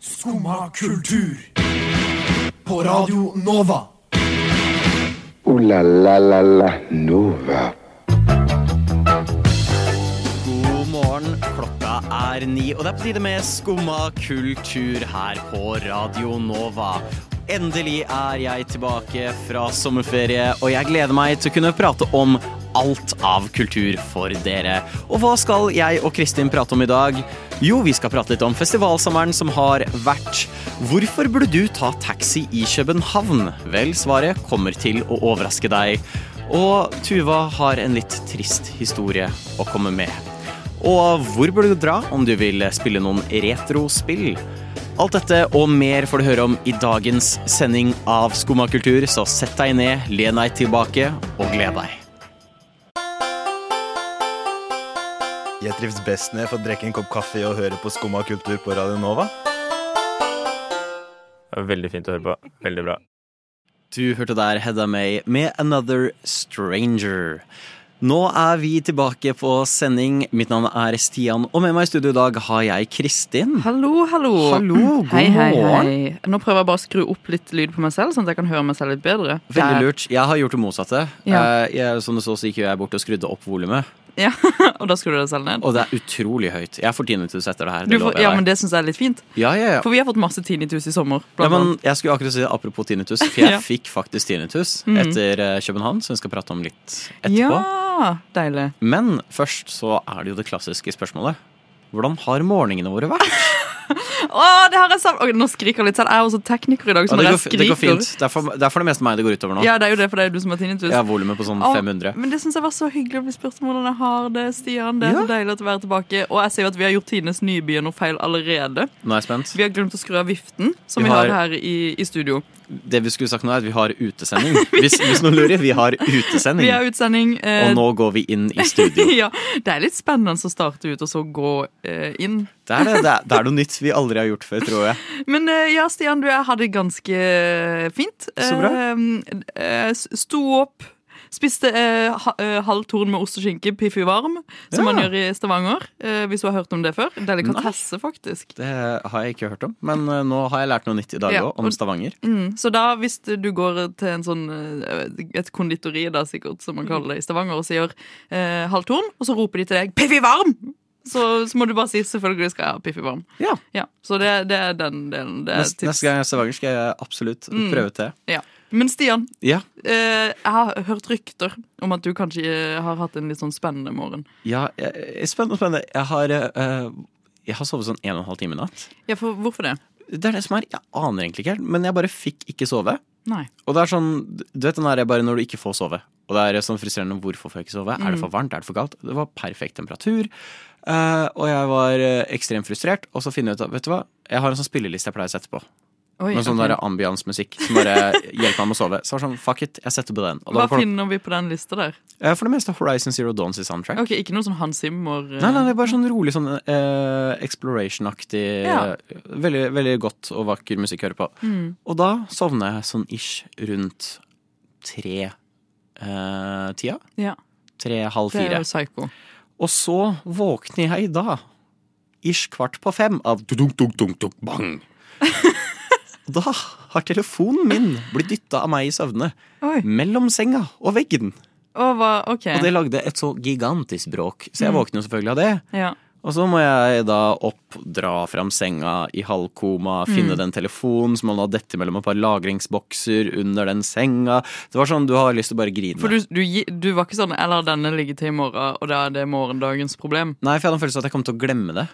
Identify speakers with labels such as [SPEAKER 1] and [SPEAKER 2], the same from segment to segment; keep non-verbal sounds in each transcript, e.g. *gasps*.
[SPEAKER 1] Skumma kultur. På Radio Nova.
[SPEAKER 2] Ooh la la la la Nova.
[SPEAKER 3] God morgen, klokka er ni, og det er på tide med skumma kultur her på Radio Nova. Endelig er jeg tilbake fra sommerferie, og jeg gleder meg til å kunne prate om alt av kultur for dere. Og hva skal jeg og Kristin prate om i dag? Jo, vi skal prate litt om festivalsommeren som har vært. Hvorfor burde du ta taxi i København? Vel, svaret kommer til å overraske deg. Og Tuva har en litt trist historie å komme med. Og hvor burde du dra om du vil spille noen retrospill? Alt dette og mer får du høre om i dagens sending av Skumma kultur, så sett deg ned, len deg tilbake og gled deg.
[SPEAKER 4] Jeg trives best når jeg får drikke en kopp kaffe og høre på Skumma kultur på Radio Nova.
[SPEAKER 5] Det var Veldig fint å høre på. Veldig bra.
[SPEAKER 3] Du hørte der Hedda May med Another Stranger. Nå er vi tilbake på sending. Mitt navn er Stian, og med meg i studio i dag har jeg Kristin.
[SPEAKER 6] Hallo, hallo.
[SPEAKER 3] Hallo, god
[SPEAKER 6] hei, hei,
[SPEAKER 3] morgen.
[SPEAKER 6] hei. Nå prøver jeg bare å skru opp litt lyd på meg selv, sånn at jeg kan høre meg selv litt bedre.
[SPEAKER 3] Veldig lurt. Jeg har gjort det motsatte.
[SPEAKER 6] Ja.
[SPEAKER 3] Eh, Jeg, som du så, så gikk jo jeg bort og skrudde opp volumet.
[SPEAKER 6] Ja, *laughs* og da skrur du deg selv ned.
[SPEAKER 3] Og det er utrolig høyt. Jeg får tinnitus etter det her.
[SPEAKER 6] Du
[SPEAKER 3] Det
[SPEAKER 6] får,
[SPEAKER 3] lover
[SPEAKER 6] ja,
[SPEAKER 3] jeg
[SPEAKER 6] men
[SPEAKER 3] deg.
[SPEAKER 6] det syns jeg er litt fint.
[SPEAKER 3] Ja, ja, ja.
[SPEAKER 6] For vi har fått masse tinnitus i sommer.
[SPEAKER 3] Ja,
[SPEAKER 6] Blant
[SPEAKER 3] men
[SPEAKER 6] annet.
[SPEAKER 3] jeg skulle akkurat si det, Apropos tinnitus, for jeg
[SPEAKER 6] *laughs* Ja.
[SPEAKER 3] fikk faktisk tinnitus
[SPEAKER 6] Mhm.
[SPEAKER 3] etter eh, København, som vi skal prate om litt etterpå.
[SPEAKER 6] Ja, deilig.
[SPEAKER 3] Men først så er det jo det klassiske spørsmålet. Hvordan har morgenene våre vært?
[SPEAKER 6] Å, det har jeg savnet! Oi, Nå skriker jeg litt selv. Jeg er også tekniker i dag,
[SPEAKER 3] Ja,
[SPEAKER 6] så
[SPEAKER 3] det,
[SPEAKER 6] når jeg
[SPEAKER 3] går, det
[SPEAKER 6] skriker
[SPEAKER 3] går fint. Det er, for, det er for det meste meg det går utover nå.
[SPEAKER 6] Ja, det er jo det, for det er jo du som har tinnitus.
[SPEAKER 3] Jeg har volumet på sånn
[SPEAKER 6] Å,
[SPEAKER 3] 500.
[SPEAKER 6] Men det syns jeg var så hyggelig å bli spurt om hvordan jeg har det, Stian. Det er
[SPEAKER 3] Ja.
[SPEAKER 6] så deilig å være tilbake. Og jeg ser jo at vi har gjort Tines Nybyen noe feil allerede.
[SPEAKER 3] Nå er jeg spent.
[SPEAKER 6] Vi har glemt å skru av viften, som
[SPEAKER 3] Vi
[SPEAKER 6] vi, har
[SPEAKER 3] har-
[SPEAKER 6] her i, i studio.
[SPEAKER 3] Det vi skulle sagt nå, er at vi har utesending. Hvis, hvis noen lurer, vi har utesending.
[SPEAKER 6] *laughs* Vi har utsending. eh,
[SPEAKER 3] Og nå går vi inn i studio.
[SPEAKER 6] *laughs* ja, det er litt spennende å starte ut og så gå eh, inn.
[SPEAKER 3] Det er, det, det, er, det er noe nytt vi aldri har gjort før, tror jeg.
[SPEAKER 6] Men eh, ja, Stian, du jeg hadde det ganske fint.
[SPEAKER 3] Så bra.
[SPEAKER 6] Eh, eh, s- sto opp. Spiste eh, ha, eh, halv torn med ost og skinke, Piffi varm, som
[SPEAKER 3] Ja.
[SPEAKER 6] man gjør i Stavanger. Eh, hvis du har hørt om det før. Delikatesse, faktisk.
[SPEAKER 3] Det har jeg ikke hørt om, men eh, nå har jeg lært noe nytt i dag
[SPEAKER 6] Ja,
[SPEAKER 3] òg, om
[SPEAKER 6] og-
[SPEAKER 3] Stavanger.
[SPEAKER 6] Mm. Så da, hvis du går til en sånn, eh, et konditori, da, sikkert, som man kaller det i Stavanger, og sier eh, halv torn, og så roper de til deg 'Piffi varm', så, så må du bare si 'selvfølgelig skal jeg ha Piffi varm'.
[SPEAKER 3] Ja.
[SPEAKER 6] Så det, det er den delen. Det er
[SPEAKER 3] Neste, neste gang jeg er i Stavanger, skal jeg absolutt
[SPEAKER 6] Mm.
[SPEAKER 3] prøve til.
[SPEAKER 6] Ja. Men Stian,
[SPEAKER 3] Ja,
[SPEAKER 6] eh, jeg har hørt rykter om at du kanskje eh, har hatt en litt sånn spennende morgen.
[SPEAKER 3] ja jeg, jeg- spennende, spennende. Jeg har, eh, jeg har sovet sånn en og en halv time i natt.
[SPEAKER 6] Ja, for hvorfor det?
[SPEAKER 3] Det er det som er, jeg aner egentlig ikke helt, men jeg bare fikk ikke sove.
[SPEAKER 6] Nei.
[SPEAKER 3] Og det er sånn, du vet den der bare når du ikke får sove. Og det er sånn frustrerende, hvorfor får jeg ikke sove? Er det for
[SPEAKER 6] Mm.
[SPEAKER 3] varmt? Er det for kaldt? Det var perfekt temperatur. eh, og jeg var eh, ekstremt frustrert, og så finner jeg ut at, vet du hva, jeg har en sånn spilleliste jeg pleier å sette på.
[SPEAKER 6] Oi,
[SPEAKER 3] Med sånn
[SPEAKER 6] ok.
[SPEAKER 3] der ambiansmusikk som
[SPEAKER 6] *laughs*
[SPEAKER 3] bare hjelper meg med å sove. Så jeg var sånn, fuck it, jeg setter på den. Og da
[SPEAKER 6] Hva
[SPEAKER 3] var det-
[SPEAKER 6] finner vi på den lista der?
[SPEAKER 3] Eh, For det meste Horizon Zero Dawns i soundtrack.
[SPEAKER 6] Ok, Ikke noe sånn Hans Zimmer eh,
[SPEAKER 3] Nei, nei, det er bare sånn rolig sånn eh, exploration-aktig
[SPEAKER 6] Ja. Mm.
[SPEAKER 3] eh, veldig, veldig godt og vakker musikk å høre på. Og da sovner jeg sånn ish rundt eh, tre-tida.
[SPEAKER 6] Ja,
[SPEAKER 3] Tre-halv
[SPEAKER 6] det er
[SPEAKER 3] fire.
[SPEAKER 6] jo psycho.
[SPEAKER 3] Og så våkner jeg da, ish kvart på fem, av dunk-dunk-dunk-dunk-bang.
[SPEAKER 6] *laughs*
[SPEAKER 3] Og da har telefonen min blitt dytta av meg i søvne.
[SPEAKER 6] Oi.
[SPEAKER 3] Mellom senga og veggen.
[SPEAKER 6] Å, hva- ok.
[SPEAKER 3] Mm. Og det lagde et så gigantisk bråk. Så
[SPEAKER 6] Mm.
[SPEAKER 3] jeg våkner jo selvfølgelig av det.
[SPEAKER 6] Ja.
[SPEAKER 3] Og så må jeg da opp, dra fram senga i halvkoma, finne
[SPEAKER 6] Mm.
[SPEAKER 3] den telefonen som man har dette mellom et par lagringsbokser under den senga. Det var sånn, du har lyst til å bare grine.
[SPEAKER 6] For du, du, gi- du var ikke sånn 'jeg lar denne ligge til i morgen', og da er det morgendagens problem.
[SPEAKER 3] Nei, for jeg hadde en følelse av at jeg kom til å glemme det.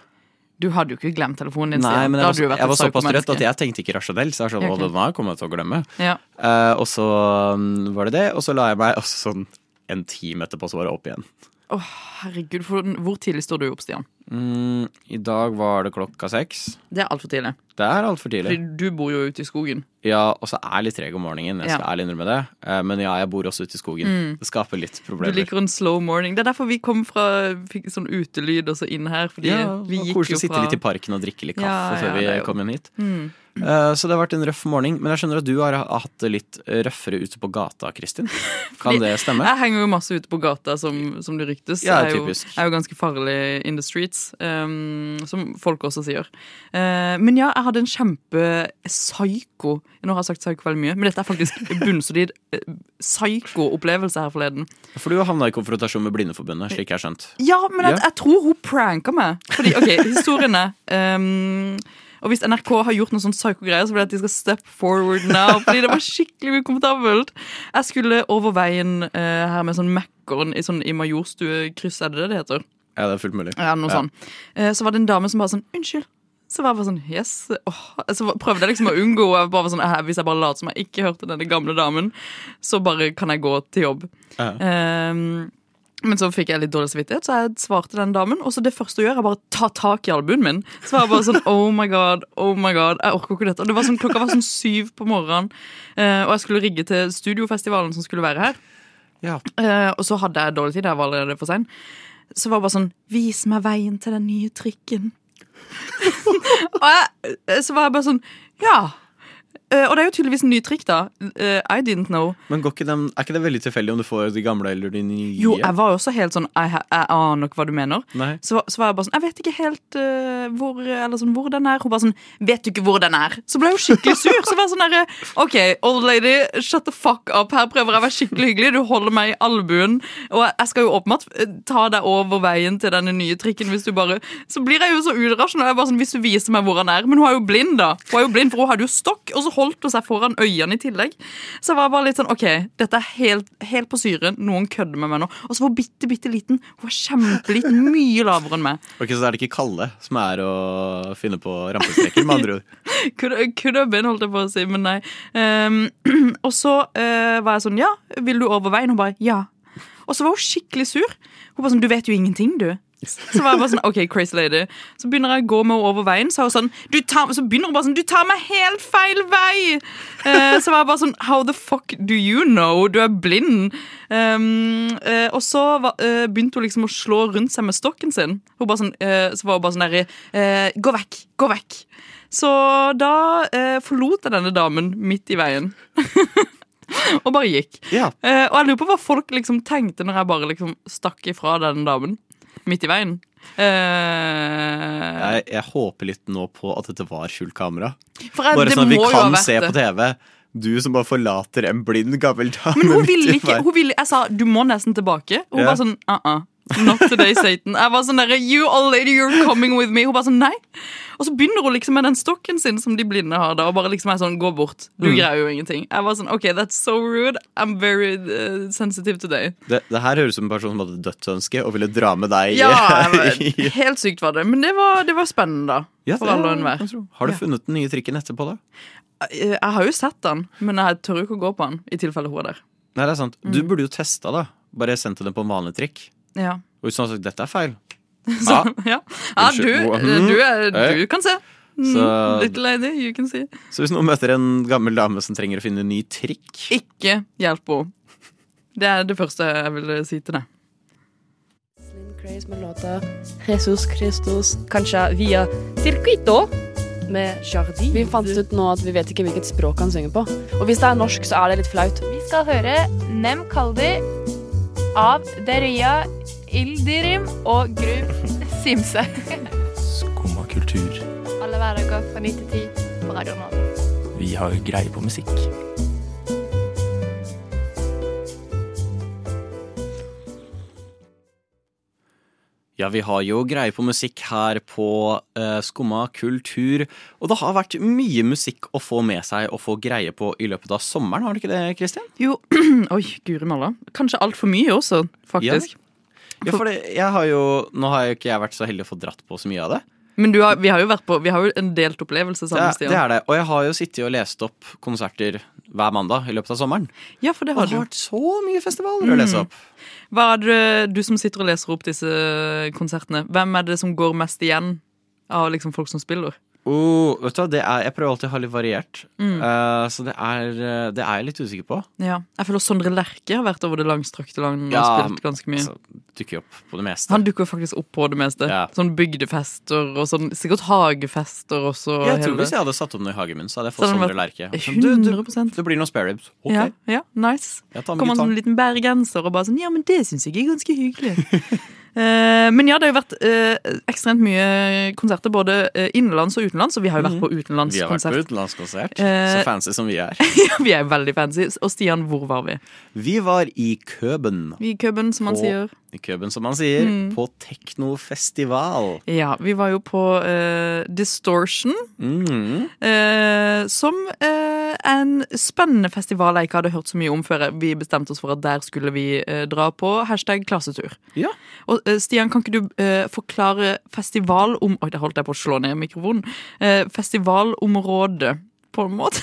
[SPEAKER 6] Du hadde jo ikke glemt telefonen din.
[SPEAKER 3] Nei,
[SPEAKER 6] Stian.
[SPEAKER 3] men
[SPEAKER 6] Da
[SPEAKER 3] jeg
[SPEAKER 6] hadde du
[SPEAKER 3] var,
[SPEAKER 6] vært
[SPEAKER 3] jeg
[SPEAKER 6] et
[SPEAKER 3] var såpass
[SPEAKER 6] psykomenneske.
[SPEAKER 3] trøtt at jeg tenkte ikke rasjonelt. Så jeg var sånn,
[SPEAKER 6] Ja,
[SPEAKER 3] å,
[SPEAKER 6] ok.
[SPEAKER 3] den her kommer jeg til å glemme.
[SPEAKER 6] Ja.
[SPEAKER 3] Eh, og så um, var det det, og så la jeg meg *laughs* og så sånn en time etterpå så var det opp igjen.
[SPEAKER 6] Å, herregud, for, hvor tidlig står du opp, Stian?
[SPEAKER 3] Mm, I dag var det klokka seks.
[SPEAKER 6] Det er altfor tidlig.
[SPEAKER 3] Det er altfor tidlig.
[SPEAKER 6] Fordi du bor jo ute i skogen.
[SPEAKER 3] Ja, og så er jeg litt treg om morgenen. Jeg skal
[SPEAKER 6] Ja. Mm.
[SPEAKER 3] ærlig innrømme det. Eh, Men ja, jeg bor også ute i skogen. Det skaper litt
[SPEAKER 6] Du
[SPEAKER 3] problemer.
[SPEAKER 6] liker en slow morning. Det er derfor vi kom fra fikk sånn utelyd og så inn her. Fordi
[SPEAKER 3] ja,
[SPEAKER 6] vi
[SPEAKER 3] det var
[SPEAKER 6] gikk
[SPEAKER 3] koselig
[SPEAKER 6] jo
[SPEAKER 3] å sitte
[SPEAKER 6] fra
[SPEAKER 3] litt i parken og drikke litt kaffe
[SPEAKER 6] Ja, ja,
[SPEAKER 3] før vi
[SPEAKER 6] det er jo-
[SPEAKER 3] kom inn hit.
[SPEAKER 6] Mm.
[SPEAKER 3] Eh, Så det har vært en røff morgen. Men jeg skjønner at du har hatt det litt røffere ute på gata,
[SPEAKER 6] *laughs*
[SPEAKER 3] Kristin. Kan
[SPEAKER 6] Fordi-
[SPEAKER 3] det stemme?
[SPEAKER 6] Jeg henger jo masse ute på gata, som, som det ryktes.
[SPEAKER 3] Ja,
[SPEAKER 6] jeg, er jo,
[SPEAKER 3] typisk.
[SPEAKER 6] jeg er jo ganske farlig in the streets. vits, ehm, som folk også sier. Eh, men ja, jeg hadde en kjempe-psyko Nå har jeg sagt psyko veldig mye, men dette er faktisk bunnsolid eh, psyko-opplevelse her forleden.
[SPEAKER 3] For du havna i konfrontasjon med Blindeforbundet, slik jeg har skjønt.
[SPEAKER 6] Ja, men at,
[SPEAKER 3] Ja.
[SPEAKER 6] jeg tror hun pranka meg. Fordi, ok, historien er ehm, Og hvis NRK har gjort noen sånn psyko-greier, så vil jeg at de skal step forward now. Fordi det var skikkelig ukomfortabelt. Jeg skulle over veien eh, her med sånn Mækkern i, sånn, i Majorstuekryss, er det det det heter?
[SPEAKER 3] Ja, det er fullt mulig.
[SPEAKER 6] Ja, noe sånn. Eh, Så var det en dame som bare sånn Unnskyld. Så var jeg bare sånn Yes. Åh. Så prøvde jeg liksom å unngå. Og jeg bare var sånn, «Eh, Hvis jeg bare later som jeg ikke hørte denne gamle damen, så bare kan jeg gå til jobb.
[SPEAKER 3] Ja.
[SPEAKER 6] Ehm, men så fikk jeg litt dårlig samvittighet, så jeg svarte den damen. Og så det første hun gjør, er bare ta tak i albuen min. Så var jeg bare sånn Oh my god, oh my god. Jeg orker ikke dette. Og det var sånn, klokka var sånn syv på morgenen, eh, og jeg skulle rigge til studiofestivalen som skulle være her.
[SPEAKER 3] Ja.
[SPEAKER 6] Eh, og så hadde jeg dårlig tid, jeg var allerede for sein. Så var det bare sånn Vis meg veien til den nye trikken. *laughs* og jeg, så var jeg bare sånn Ja. Eh, og det er jo tydeligvis en ny trikk, da. Eh, I didn't know.
[SPEAKER 3] Men går ikke dem, er ikke det veldig tilfeldig om du får de gamle eller de nye?
[SPEAKER 6] Jo, jeg var jo også helt sånn Jeg, ha- jeg aner nok hva du mener.
[SPEAKER 3] Nei.
[SPEAKER 6] Så, var- så var jeg bare sånn Jeg vet ikke helt eh, hvor, eller sånn, hvor den er. Hun bare sånn Vet du ikke hvor den er? Så ble jeg jo skikkelig sur. Så var jeg sånn derre OK, old lady, shut the fuck up. Her prøver jeg å være skikkelig hyggelig. Du holder meg i albuen. Og jeg- jeg skal jo åpenbart eh, ta deg over veien til denne nye trikken hvis du bare Så blir jeg jo så urasjonell. Jeg er bare sånn, hvis du viser meg hvor han er Men hun er jo blind, da. Hun er jo blind, For hun hadde jo stokk, og så holdt hun seg foran øynene i tillegg. Så jeg var bare litt sånn OK, dette er helt, helt på syren. Noen kødder med meg nå. Og så var hun bitte, bitte liten. Hun var kjempeliten. Mye lavere enn meg.
[SPEAKER 3] Ok, Så er det ikke Kalle som er å finne på rampestreker, med
[SPEAKER 6] *laughs*
[SPEAKER 3] andre ord.
[SPEAKER 6] Could, could have been, holdt jeg på å si, men nei. Ehm, *clears throat* og så eh, var jeg sånn, ja, vil du over veien? Hun bare, ja. Og så var hun skikkelig sur. Hun bare sånn, du vet jo ingenting, du. Så var jeg bare sånn, ok, crazy lady. Så begynner jeg å gå med henne over veien, så, er hun sånn, du tar, så begynner hun bare sånn, du tar meg helt feil vei! Eh, så var jeg bare sånn, how the fuck do you know? Du er blind. Ehm, eh, og så var, eh, begynte hun liksom å slå rundt seg med stokken sin. Hun bare sånn, eh, så var hun bare sånn der, eh, gå vekk, gå vekk. Så da eh, forlot jeg denne damen midt i veien. *laughs* og bare gikk.
[SPEAKER 3] Ja.
[SPEAKER 6] Eh, og jeg lurer på hva folk liksom tenkte når jeg bare liksom stakk ifra denne damen midt i veien. Eh,
[SPEAKER 3] Jeg, jeg håper litt nå på at dette var skjult kamera.
[SPEAKER 6] for jeg,
[SPEAKER 3] Bare
[SPEAKER 6] det
[SPEAKER 3] sånn at vi
[SPEAKER 6] må jo ha
[SPEAKER 3] kan
[SPEAKER 6] vært
[SPEAKER 3] se
[SPEAKER 6] det.
[SPEAKER 3] på TV. Du som bare forlater en blind gammel dame
[SPEAKER 6] Men hun
[SPEAKER 3] midt i
[SPEAKER 6] ville ikke.
[SPEAKER 3] veien.
[SPEAKER 6] Hun ville, jeg sa du må nesten tilbake. Hun
[SPEAKER 3] Ja.
[SPEAKER 6] bare sånn uh-uh. Not today, Satan. Jeg var sånn der, You old lady, you're coming with me. Hun bare sånn nei. Og så begynner hun liksom med den stokken sin som de blinde har, da, og bare liksom er sånn gå bort. Du
[SPEAKER 3] Mm.
[SPEAKER 6] greier jo ingenting. Jeg var sånn OK, that's so rude. I'm very uh, sensitive today.
[SPEAKER 3] Det, det her høres ut som en person som hadde dødsønske og ville dra med deg.
[SPEAKER 6] Ja,
[SPEAKER 3] *laughs* i-
[SPEAKER 6] jeg var- helt sykt var det. Men det var, det var spennende, da.
[SPEAKER 3] Ja,
[SPEAKER 6] For
[SPEAKER 3] det-
[SPEAKER 6] alle og enhver.
[SPEAKER 3] jeg tror. Har du
[SPEAKER 6] Ja.
[SPEAKER 3] funnet den nye trikken etterpå, da?
[SPEAKER 6] Jeg jeg har jo sett den, men jeg tør jo ikke å gå på den i tilfelle hun er der.
[SPEAKER 3] Nei, det er sant. Du
[SPEAKER 6] Mm.
[SPEAKER 3] burde jo testa, da. Bare sendt den på en vanlig trikk.
[SPEAKER 6] Ja, *laughs*
[SPEAKER 3] Og hvis han hadde sagt dette er feil,
[SPEAKER 6] så, ja. ja du,
[SPEAKER 3] Unnskyld. mm.
[SPEAKER 6] du, er, du
[SPEAKER 3] Hei.
[SPEAKER 6] kan se. Mm,
[SPEAKER 3] Så-
[SPEAKER 6] Little lady, you can see.
[SPEAKER 3] Så hvis noen møter en gammel dame som trenger å finne en ny trikk
[SPEAKER 6] Ikke hjelp henne. Det er det første jeg ville si til deg.
[SPEAKER 7] Slim Craze med låta Jesus Christus, kanskje via Circuito med Jardi. Vi fant ut nå at vi vet ikke hvilket språk han synger på. Og hvis det er norsk, så er det litt flaut.
[SPEAKER 8] Vi skal høre Nem Kaldi av Deria Ildirim og Grub Simse.
[SPEAKER 9] Skumma kultur.
[SPEAKER 8] Alle hverdager fra 9 til 10 på Radio Nova.
[SPEAKER 9] Vi har greie på musikk.
[SPEAKER 3] Ja, vi har jo greie på musikk her på eh, Skumma kultur. Og det har vært mye musikk å få med seg og få greie på i løpet av sommeren, har det ikke det, Kristin?
[SPEAKER 6] Jo, *clears throat* oi, guri malla. Kanskje altfor mye også, faktisk.
[SPEAKER 3] Ja, for det, jeg har jo Nå har jo ikke jeg vært så heldig å få dratt på så mye av det.
[SPEAKER 6] Men du har, vi har jo vært på Vi har jo en delt opplevelse
[SPEAKER 3] Det,
[SPEAKER 6] sammen,
[SPEAKER 3] er- det
[SPEAKER 6] Stian.
[SPEAKER 3] er det. Og jeg har jo sittet og lest opp konserter hver mandag i løpet av sommeren.
[SPEAKER 6] Ja, for det
[SPEAKER 3] Og
[SPEAKER 6] har
[SPEAKER 3] det
[SPEAKER 6] du.
[SPEAKER 3] har vært så mye festivaler å lese opp.
[SPEAKER 6] Hva er det du som sitter og leser opp disse konsertene? Hvem er det som går mest igjen av liksom folk som spiller?
[SPEAKER 3] Oh, vet du hva, det er, Jeg prøver alltid å ha litt variert, Eh, så det er, eh, det er jeg litt usikker på.
[SPEAKER 6] Ja. Jeg føler Sondre Lerche har vært over det langstrakte land og
[SPEAKER 3] Ja,
[SPEAKER 6] spilt ganske mye.
[SPEAKER 3] Så dukker jo opp på det meste.
[SPEAKER 6] Han dukker jo faktisk opp på det meste.
[SPEAKER 3] Ja.
[SPEAKER 6] Sånn bygdefester og sånn, sikkert hagefester også.
[SPEAKER 3] jeg tror
[SPEAKER 6] hele
[SPEAKER 3] Hvis
[SPEAKER 6] det.
[SPEAKER 3] jeg hadde satt opp noe i hagen min, så hadde jeg
[SPEAKER 6] Så
[SPEAKER 3] fått
[SPEAKER 6] hadde
[SPEAKER 3] Sondre
[SPEAKER 6] det
[SPEAKER 3] Lerche.
[SPEAKER 6] 100%.
[SPEAKER 3] Det blir noen spare ribs. Ok,
[SPEAKER 6] Ja, ja, nice.
[SPEAKER 3] jeg tar med
[SPEAKER 6] Kommer han som en
[SPEAKER 3] gitar.
[SPEAKER 6] liten bergenser og bare sånn Ja, men det syns jeg er ganske hyggelig. *laughs* Eh, men ja, det har jo vært eh, ekstremt mye konserter både eh, innenlands og utenlands, og vi har jo vært på
[SPEAKER 3] Mhm. Vi har vært på
[SPEAKER 6] utenlandskonsert.
[SPEAKER 3] utenlandskonsert.
[SPEAKER 6] Eh,
[SPEAKER 3] Så fancy som vi er.
[SPEAKER 6] *laughs* vi er veldig fancy. Og Stian, hvor var vi?
[SPEAKER 3] Vi var i Køben.
[SPEAKER 6] Vi i Køben, som han
[SPEAKER 3] På-
[SPEAKER 6] sier.
[SPEAKER 3] I Køben, som man sier.
[SPEAKER 6] Mm.
[SPEAKER 3] På teknofestival.
[SPEAKER 6] Ja, vi var jo på eh, Distortion,
[SPEAKER 3] Mm.
[SPEAKER 6] eh, som eh, er en spennende festival jeg ikke hadde hørt så mye om før vi bestemte oss for at der skulle vi eh, dra på hashtag klassetur.
[SPEAKER 3] Ja.
[SPEAKER 6] Og eh, Stian, kan ikke du eh, forklare festival om... Oi, der holdt jeg på å slå ned mikrofonen. Eh, festivalområdet, på en måte.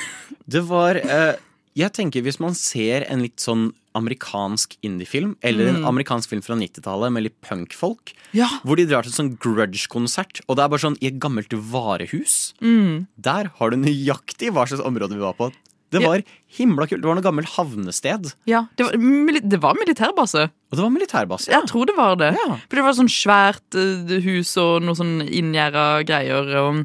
[SPEAKER 3] Det var eh, Jeg tenker hvis man ser en litt sånn amerikansk indiefilm, eller en
[SPEAKER 6] Mm.
[SPEAKER 3] amerikansk film fra 90-tallet med litt punkfolk,
[SPEAKER 6] Ja.
[SPEAKER 3] hvor de drar til en sånn grudge-konsert, og det er bare sånn i et gammelt varehus.
[SPEAKER 6] Mm.
[SPEAKER 3] Der har du nøyaktig hva slags område vi var på. Det
[SPEAKER 6] Ja.
[SPEAKER 3] var himla kult. Det var noe gammelt havnested.
[SPEAKER 6] *laughs* Ja, det var, mili det var militærbase.
[SPEAKER 3] Og det var militærbase.
[SPEAKER 6] Jeg tror det var det.
[SPEAKER 3] Ja.
[SPEAKER 6] For det var sånn svært eh, hus og noe sånn inngjerda greier. Og,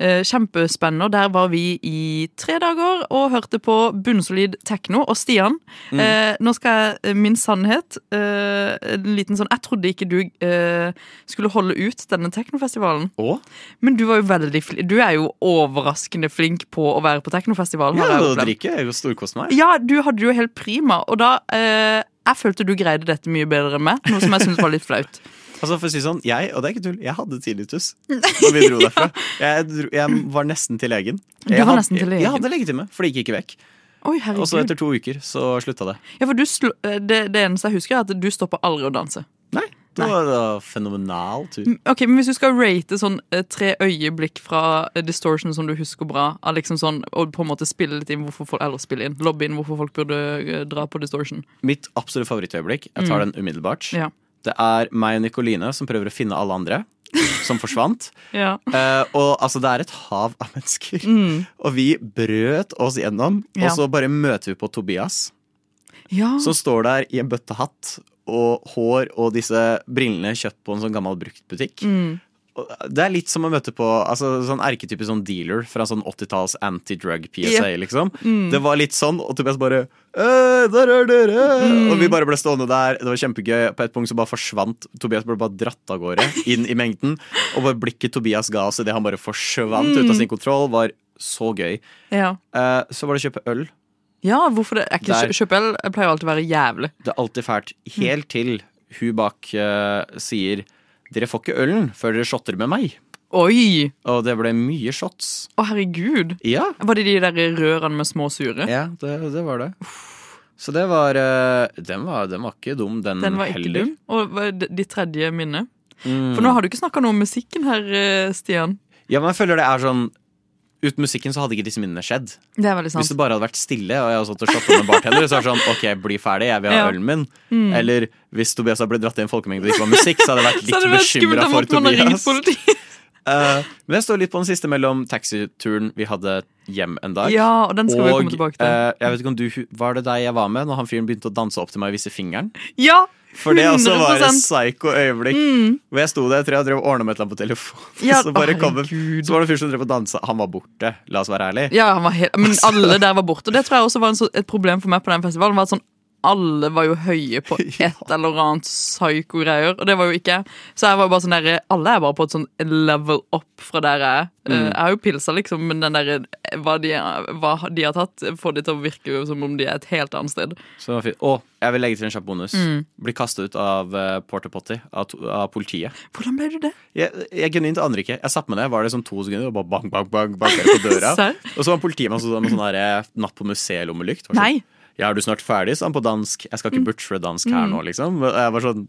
[SPEAKER 6] eh, kjempespennende. Og der var vi i tre dager og hørte på bunnsolid tekno. Og Stian,
[SPEAKER 3] Mm.
[SPEAKER 6] eh, nå skal jeg min sannhet eh, En liten sånn Jeg trodde ikke du eh, skulle holde ut denne teknofestivalen.
[SPEAKER 3] Og
[SPEAKER 6] Men du var jo veldig flink. Du er jo overraskende flink på å være på teknofestival.
[SPEAKER 3] ja,
[SPEAKER 6] har jeg
[SPEAKER 3] det å
[SPEAKER 6] opplevd.
[SPEAKER 3] drikke. Jeg storkoste meg.
[SPEAKER 6] Ja, du hadde det jo helt prima, og da eh, Jeg følte du greide dette mye bedre enn meg, noe som jeg syntes var litt flaut.
[SPEAKER 3] Altså for å si sånn, jeg, og det er ikke tull, jeg hadde tinnitus
[SPEAKER 6] *laughs*
[SPEAKER 3] da vi dro derfra. Jeg, dro, jeg var nesten til legen.
[SPEAKER 6] Du
[SPEAKER 3] Jeg
[SPEAKER 6] var
[SPEAKER 3] hadde-
[SPEAKER 6] nesten til legen?
[SPEAKER 3] Jeg hadde legetime, for det gikk ikke vekk.
[SPEAKER 6] Oi,
[SPEAKER 3] *laughs* Og så
[SPEAKER 6] herregud.
[SPEAKER 3] etter to uker så slutta det.
[SPEAKER 6] Ja, for du sl eh, det, det eneste jeg husker, er at du stopper aldri å danse.
[SPEAKER 3] Nei, Det var da fenomenal tur.
[SPEAKER 6] M- Ok, Men hvis du skal rate sånn eh, tre øyeblikk fra eh, Distortion som du husker bra, av liksom sånn, og på en måte spille litt inn hvorfor folk, eller spille inn, lobby inn hvorfor folk burde eh, dra på Distortion
[SPEAKER 3] Mitt absolutt favorittøyeblikk, jeg
[SPEAKER 6] Mm.
[SPEAKER 3] tar den umiddelbart,
[SPEAKER 6] Ja.
[SPEAKER 3] det er meg og Nikoline som prøver å finne alle andre som forsvant.
[SPEAKER 6] Ja.
[SPEAKER 3] Eh, og altså, det er et hav av mennesker. Og vi brøt oss gjennom,
[SPEAKER 6] Mm. Ja.
[SPEAKER 3] og så bare møter vi på Tobias,
[SPEAKER 6] ja.
[SPEAKER 3] som står der i en bøttehatt og hår og disse brillene kjøpt på en sånn gammel bruktbutikk.
[SPEAKER 6] Mm.
[SPEAKER 3] Og Det er litt som å møte på altså, sånn erketype sånn dealer fra sånn 80-talls anti-drug PSA, liksom. Det var litt sånn, og Tobias bare «Øh, Der er dere! Og vi bare ble stående der. Det var kjempegøy. På et punkt så bare forsvant Tobias ble bare dratt av gårde inn i mengden. Og bare blikket Tobias ga oss idet han bare forsvant ut av sin kontroll, var så gøy.
[SPEAKER 6] ja.
[SPEAKER 3] Eh, så var det å kjøpe øl.
[SPEAKER 6] ja, hvorfor det? Er ikke
[SPEAKER 3] Der.
[SPEAKER 6] kjø- Kjøpel jeg pleier alltid å være jævlig.
[SPEAKER 3] Det er alltid fælt. Helt til hun bak eh, sier Dere får ikke ølen før dere shotter med meg.
[SPEAKER 6] Oi!
[SPEAKER 3] Og det ble mye shots.
[SPEAKER 6] Å, herregud.
[SPEAKER 3] Ja,
[SPEAKER 6] Var det de der rørene med små sure?
[SPEAKER 3] Ja, det, det var det. Så det var eh, Den var, den var ikke dum, den,
[SPEAKER 6] Den var ikke
[SPEAKER 3] heller.
[SPEAKER 6] dum. Og hva er det- ditt tredje minne.
[SPEAKER 3] Mm.
[SPEAKER 6] For nå har du ikke snakka noe om musikken her, eh, Stian.
[SPEAKER 3] Ja, men jeg føler det er sånn Uten musikken så hadde ikke disse minnene skjedd.
[SPEAKER 6] Det er veldig
[SPEAKER 3] Hvis det bare hadde vært stille, og jeg hadde stått og shotta med bartender, så er det sånn OK, bli ferdig, jeg vil ha
[SPEAKER 6] Ja. Mm.
[SPEAKER 3] ølen min. Eller hvis Tobias hadde blitt dratt i en folkemengde og det ikke var musikk, så hadde jeg vært
[SPEAKER 6] *laughs* Så hadde
[SPEAKER 3] litt
[SPEAKER 6] det vært skummelt, da
[SPEAKER 3] bekymra for
[SPEAKER 6] måtte man ha ringt
[SPEAKER 3] Tobias. *laughs*
[SPEAKER 6] politiet.
[SPEAKER 3] Eh, men jeg står litt på den siste mellom taxituren vi hadde hjem en dag.
[SPEAKER 6] Ja, og den skal vi jo
[SPEAKER 3] og
[SPEAKER 6] komme tilbake til.
[SPEAKER 3] eh, jeg vet ikke om du hu- Var det deg jeg var med når han fyren begynte å danse opp til meg og vise fingeren?
[SPEAKER 6] Ja,
[SPEAKER 3] For det også var et
[SPEAKER 6] 100%.
[SPEAKER 3] psycho øyeblikk. Hvor jeg sto der, jeg tror jeg drev og ordna med et eller annet på telefonen.
[SPEAKER 6] Mm.
[SPEAKER 3] *laughs*
[SPEAKER 6] Ja,
[SPEAKER 3] så, bare kom, en-
[SPEAKER 6] herregud.
[SPEAKER 3] så var det en fyr som drev og dansa. Han var borte, la oss være ærlig.
[SPEAKER 6] Ja, han var helt,
[SPEAKER 3] *laughs*
[SPEAKER 6] men alle der var borte. Og det tror jeg også var en, så- et problem for meg på den festivalen. Var at sånn, alle var jo høye på
[SPEAKER 3] *laughs*
[SPEAKER 6] et eller annet psyko-greier, og det var jo ikke jeg. Så jeg var bare sånn der, alle er bare på et sånn level up fra der jeg er.
[SPEAKER 3] Mm.
[SPEAKER 6] Eh, Jeg har jo pilsa, liksom, men den der, hva, de, hva de har tatt, får de til å virke jo som om de er et helt annet sted.
[SPEAKER 3] Så det var fint. Å, jeg vil legge til en kjapp bonus.
[SPEAKER 6] Mm.
[SPEAKER 3] Bli kasta ut av uh, porta potty av, to- av politiet.
[SPEAKER 6] Hvordan ble du det?
[SPEAKER 3] Jeg, jeg genuint aner ikke. Jeg satt med det, var det sånn to sekunder, og bare bang, bang, bang, bang på
[SPEAKER 6] *laughs*
[SPEAKER 3] døra.
[SPEAKER 6] Serr?
[SPEAKER 3] og så var en politimann som sto der med sånn der, eh, Natt på museet-lommelykt. Var sånn,
[SPEAKER 6] Nei. Mm.
[SPEAKER 3] Ja, er du snart ferdig, sa han på dansk. Jeg skal ikke butchere dansk her nå, liksom. Og Jeg var sånn,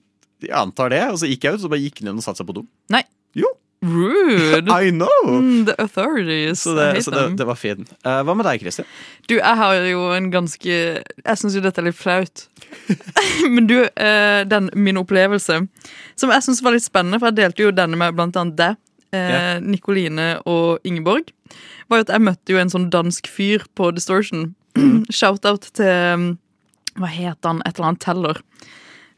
[SPEAKER 3] jeg antar det. Og så gikk jeg ut, så bare gikk han inn og satte seg på do.
[SPEAKER 6] Nei.
[SPEAKER 3] Jo. *laughs*
[SPEAKER 6] Rude.
[SPEAKER 3] I know!
[SPEAKER 6] Mm, The authorities.
[SPEAKER 3] Så
[SPEAKER 6] I hate
[SPEAKER 3] det, så det,
[SPEAKER 6] them.
[SPEAKER 3] det var fint. Eh, hva med deg, Kristin?
[SPEAKER 6] Du, jeg har jo en ganske Jeg syns jo dette er litt flaut. *laughs* Men du, eh, den min opplevelse, som jeg syns var litt spennende, for jeg delte jo denne med blant annet deg, eh,
[SPEAKER 3] Ja.
[SPEAKER 6] Nikoline og Ingeborg, var jo at jeg møtte jo en sånn dansk fyr på Distortion.
[SPEAKER 3] Mm.
[SPEAKER 6] *clears throat* Shout-out til um, Hva het han? Et eller annet teller.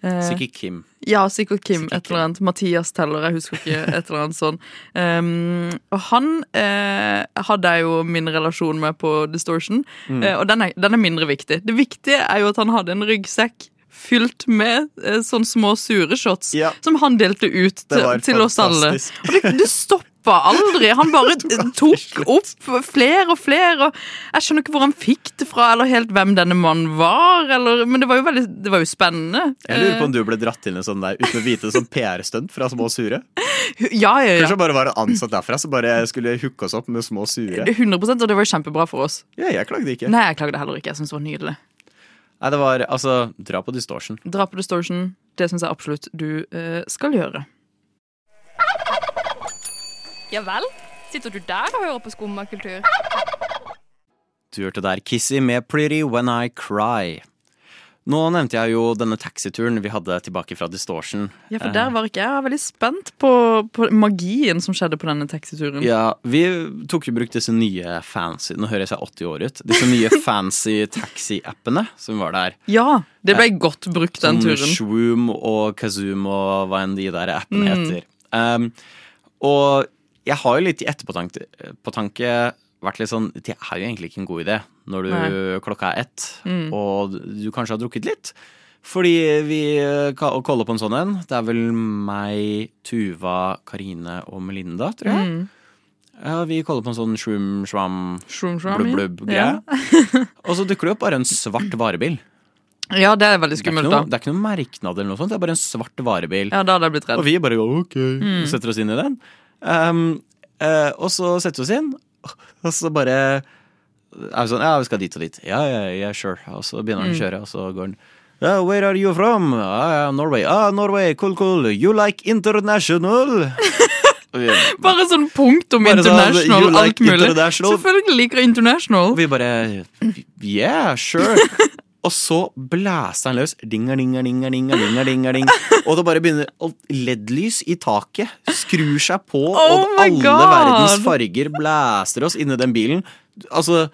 [SPEAKER 6] Eh,
[SPEAKER 3] Sikkert Kim.
[SPEAKER 6] ja, sikkert Kim.
[SPEAKER 3] Sikkert
[SPEAKER 6] Et eller annet. Mathias teller, jeg husker ikke. et eller annet sånn. Um, og han eh, hadde jeg jo min relasjon
[SPEAKER 4] Mm.
[SPEAKER 6] med på Distortion, eh, og den er, den er mindre viktig. Det viktige er jo at han hadde en ryggsekk fylt med eh, sånne små sure shots
[SPEAKER 4] Ja.
[SPEAKER 6] som han delte ut
[SPEAKER 4] Det
[SPEAKER 6] til,
[SPEAKER 4] var
[SPEAKER 6] til oss alle.
[SPEAKER 4] fantastisk.
[SPEAKER 6] Og det, det stoppa aldri. Han
[SPEAKER 4] *laughs*
[SPEAKER 6] bare tok opp flere og flere. Og jeg skjønner ikke hvor han fikk det fra, eller helt hvem denne mannen var. Eller, men det var jo, veldig, det var jo spennende.
[SPEAKER 4] Jeg lurer på om du ble dratt til en sånn der uten å vite sånn PR-stunt fra Små sure?
[SPEAKER 6] Eh, Ja, ja,
[SPEAKER 4] Kanskje
[SPEAKER 6] ja.
[SPEAKER 4] han bare var en ansatt derfra som bare skulle hooke oss opp med Små sure?
[SPEAKER 6] 100 og det var jo kjempebra for oss.
[SPEAKER 4] Ja, jeg klagde ikke.
[SPEAKER 6] Nei, jeg klagde heller ikke. Jeg synes det var nydelig.
[SPEAKER 4] Nei, det var altså Dra på distortion.
[SPEAKER 6] Drap og distortion, det syns jeg absolutt du eh, skal gjøre.
[SPEAKER 8] Ja vel? Sitter du der og hører på skummakultur?
[SPEAKER 3] Du hørte der Kissy med Pretty When I Cry. Nå nevnte jeg jo denne taxituren vi hadde tilbake fra Distortion.
[SPEAKER 6] Ja, for
[SPEAKER 3] Eh.
[SPEAKER 6] der var ikke jeg. Jeg er veldig spent på, på magien som skjedde på denne taxituren.
[SPEAKER 3] Ja, Vi tok jo brukt disse nye fancy Nå høres jeg 80 år ut. Disse nye fancy taxi-appene som var der.
[SPEAKER 6] Ja, det ble
[SPEAKER 3] Eh,
[SPEAKER 6] godt brukt den
[SPEAKER 3] Som
[SPEAKER 6] turen. Mm.
[SPEAKER 3] Shwoom og Kazoom og hva enn de der appene heter. Um, og jeg har jo litt i etterpåtanke på tanke vært litt sånn Det er jo egentlig ikke en god idé når du,
[SPEAKER 6] Nei. Mm.
[SPEAKER 3] klokka er ett og du kanskje har drukket litt. Fordi vi eh, ka- kaller på en sånn en. Det er vel meg, Tuva, Karine og Melinda, tror jeg.
[SPEAKER 6] Mm.
[SPEAKER 3] Ja, vi kaller på en sånn shroom, shwam,
[SPEAKER 6] Shroom, shroom,
[SPEAKER 3] blubb,
[SPEAKER 6] ja.
[SPEAKER 3] blubb-greie.
[SPEAKER 6] *laughs*
[SPEAKER 3] og så dukker det opp bare en svart varebil.
[SPEAKER 6] Ja. ja, det er
[SPEAKER 3] Det
[SPEAKER 6] veldig
[SPEAKER 3] er, ikke
[SPEAKER 6] skummelt,
[SPEAKER 3] noe,
[SPEAKER 6] da.
[SPEAKER 3] det er ikke noe merknad eller noe sånt, det er bare en svart varebil.
[SPEAKER 6] Ja, Mm. da hadde jeg blitt
[SPEAKER 3] Og
[SPEAKER 6] redd.
[SPEAKER 3] vi bare ok, setter oss inn i den. Ehm, eh, og så setter vi oss inn, og så bare er vi sånn Ja, vi skal dit og dit. Ja, ja, ja, sure. Og så begynner han
[SPEAKER 6] Mm.
[SPEAKER 3] å kjøre, og så går han. «Ja, where are you from? Ah, ja, Norway. Ah, Norway, cool, cool. You like
[SPEAKER 6] *laughs*
[SPEAKER 3] international? og vi,
[SPEAKER 6] Bare sånn punktum
[SPEAKER 3] Bare sånn,
[SPEAKER 6] international,
[SPEAKER 3] you like
[SPEAKER 6] alt mulig.
[SPEAKER 3] international?
[SPEAKER 6] Selvfølgelig liker jeg international.
[SPEAKER 3] og vi bare Yeah,
[SPEAKER 6] *laughs*
[SPEAKER 3] sure. Og så blæser han løs. Dinger, dinger, dinger, dinger, dinger, dinger, ding. Og det bare begynner alt LED-lys i taket. Skrur seg på,
[SPEAKER 6] Oh
[SPEAKER 3] og
[SPEAKER 6] my
[SPEAKER 3] alle
[SPEAKER 6] God!
[SPEAKER 3] verdens farger blæser oss inni den bilen. Altså,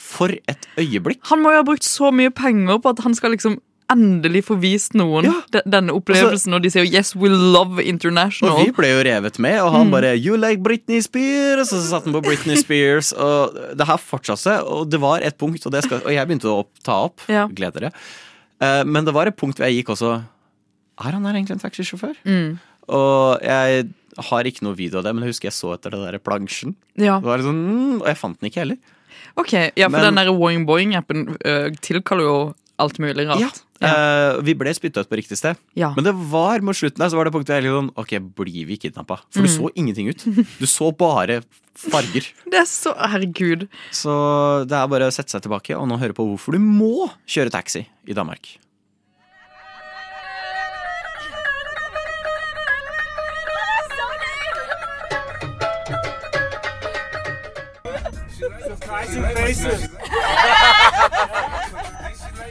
[SPEAKER 3] for et øyeblikk.
[SPEAKER 6] Han må jo ha brukt så mye penger på at han skal liksom endelig få vist noen
[SPEAKER 3] Ja. Altså-
[SPEAKER 6] de- denne opplevelsen, og de sier jo 'yes, we love
[SPEAKER 3] Og
[SPEAKER 6] international'.
[SPEAKER 3] vi ble jo revet med, og
[SPEAKER 6] Mm.
[SPEAKER 3] han bare 'You like Britney Spears', og så satt han på
[SPEAKER 6] *laughs*
[SPEAKER 3] Britney Spears, og det her fortsatte seg, og det var et punkt, og, det skal, og jeg begynte å opp, ta opp,
[SPEAKER 6] Ja.
[SPEAKER 3] gled dere, Eh, men det var et punkt hvor jeg gikk også Er han her egentlig en taxisjåfør?
[SPEAKER 6] Mm.
[SPEAKER 3] Og jeg har ikke noe video av det, men jeg husker jeg så etter den der plansjen.
[SPEAKER 6] Ja.
[SPEAKER 3] Det var sånn, mm, og jeg fant den ikke heller.
[SPEAKER 6] Ok, ja, for
[SPEAKER 3] Men-
[SPEAKER 6] den der Boing Boing-appen ø, tilkaller jo alt mulig rart. Ja.
[SPEAKER 3] Eh, vi ble spytta ut på riktig sted.
[SPEAKER 6] Ja.
[SPEAKER 3] Men det var mot slutten der, så var det punktet jeg helt sånn Ok, blir vi kidnappa? For
[SPEAKER 6] Mm.
[SPEAKER 3] du så ingenting ut. Du så bare
[SPEAKER 6] *laughs*
[SPEAKER 3] farger.
[SPEAKER 6] Det er så Herregud.
[SPEAKER 3] Så det er bare å sette seg tilbake og nå høre på hvorfor du må kjøre taxi i Danmark.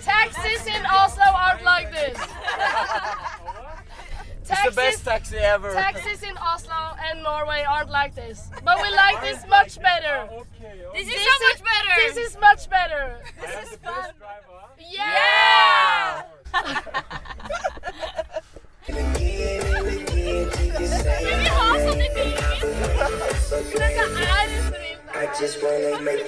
[SPEAKER 8] Taxis in Oslo aren't like this. Taxis,
[SPEAKER 10] taxi ever.
[SPEAKER 8] taxis in Oslo and Norway aren't like this. But we like this much better. This is so much better. This is much better. This is fun. Yeah! Vi vil ha sånn i bilen. Dette er så vilt.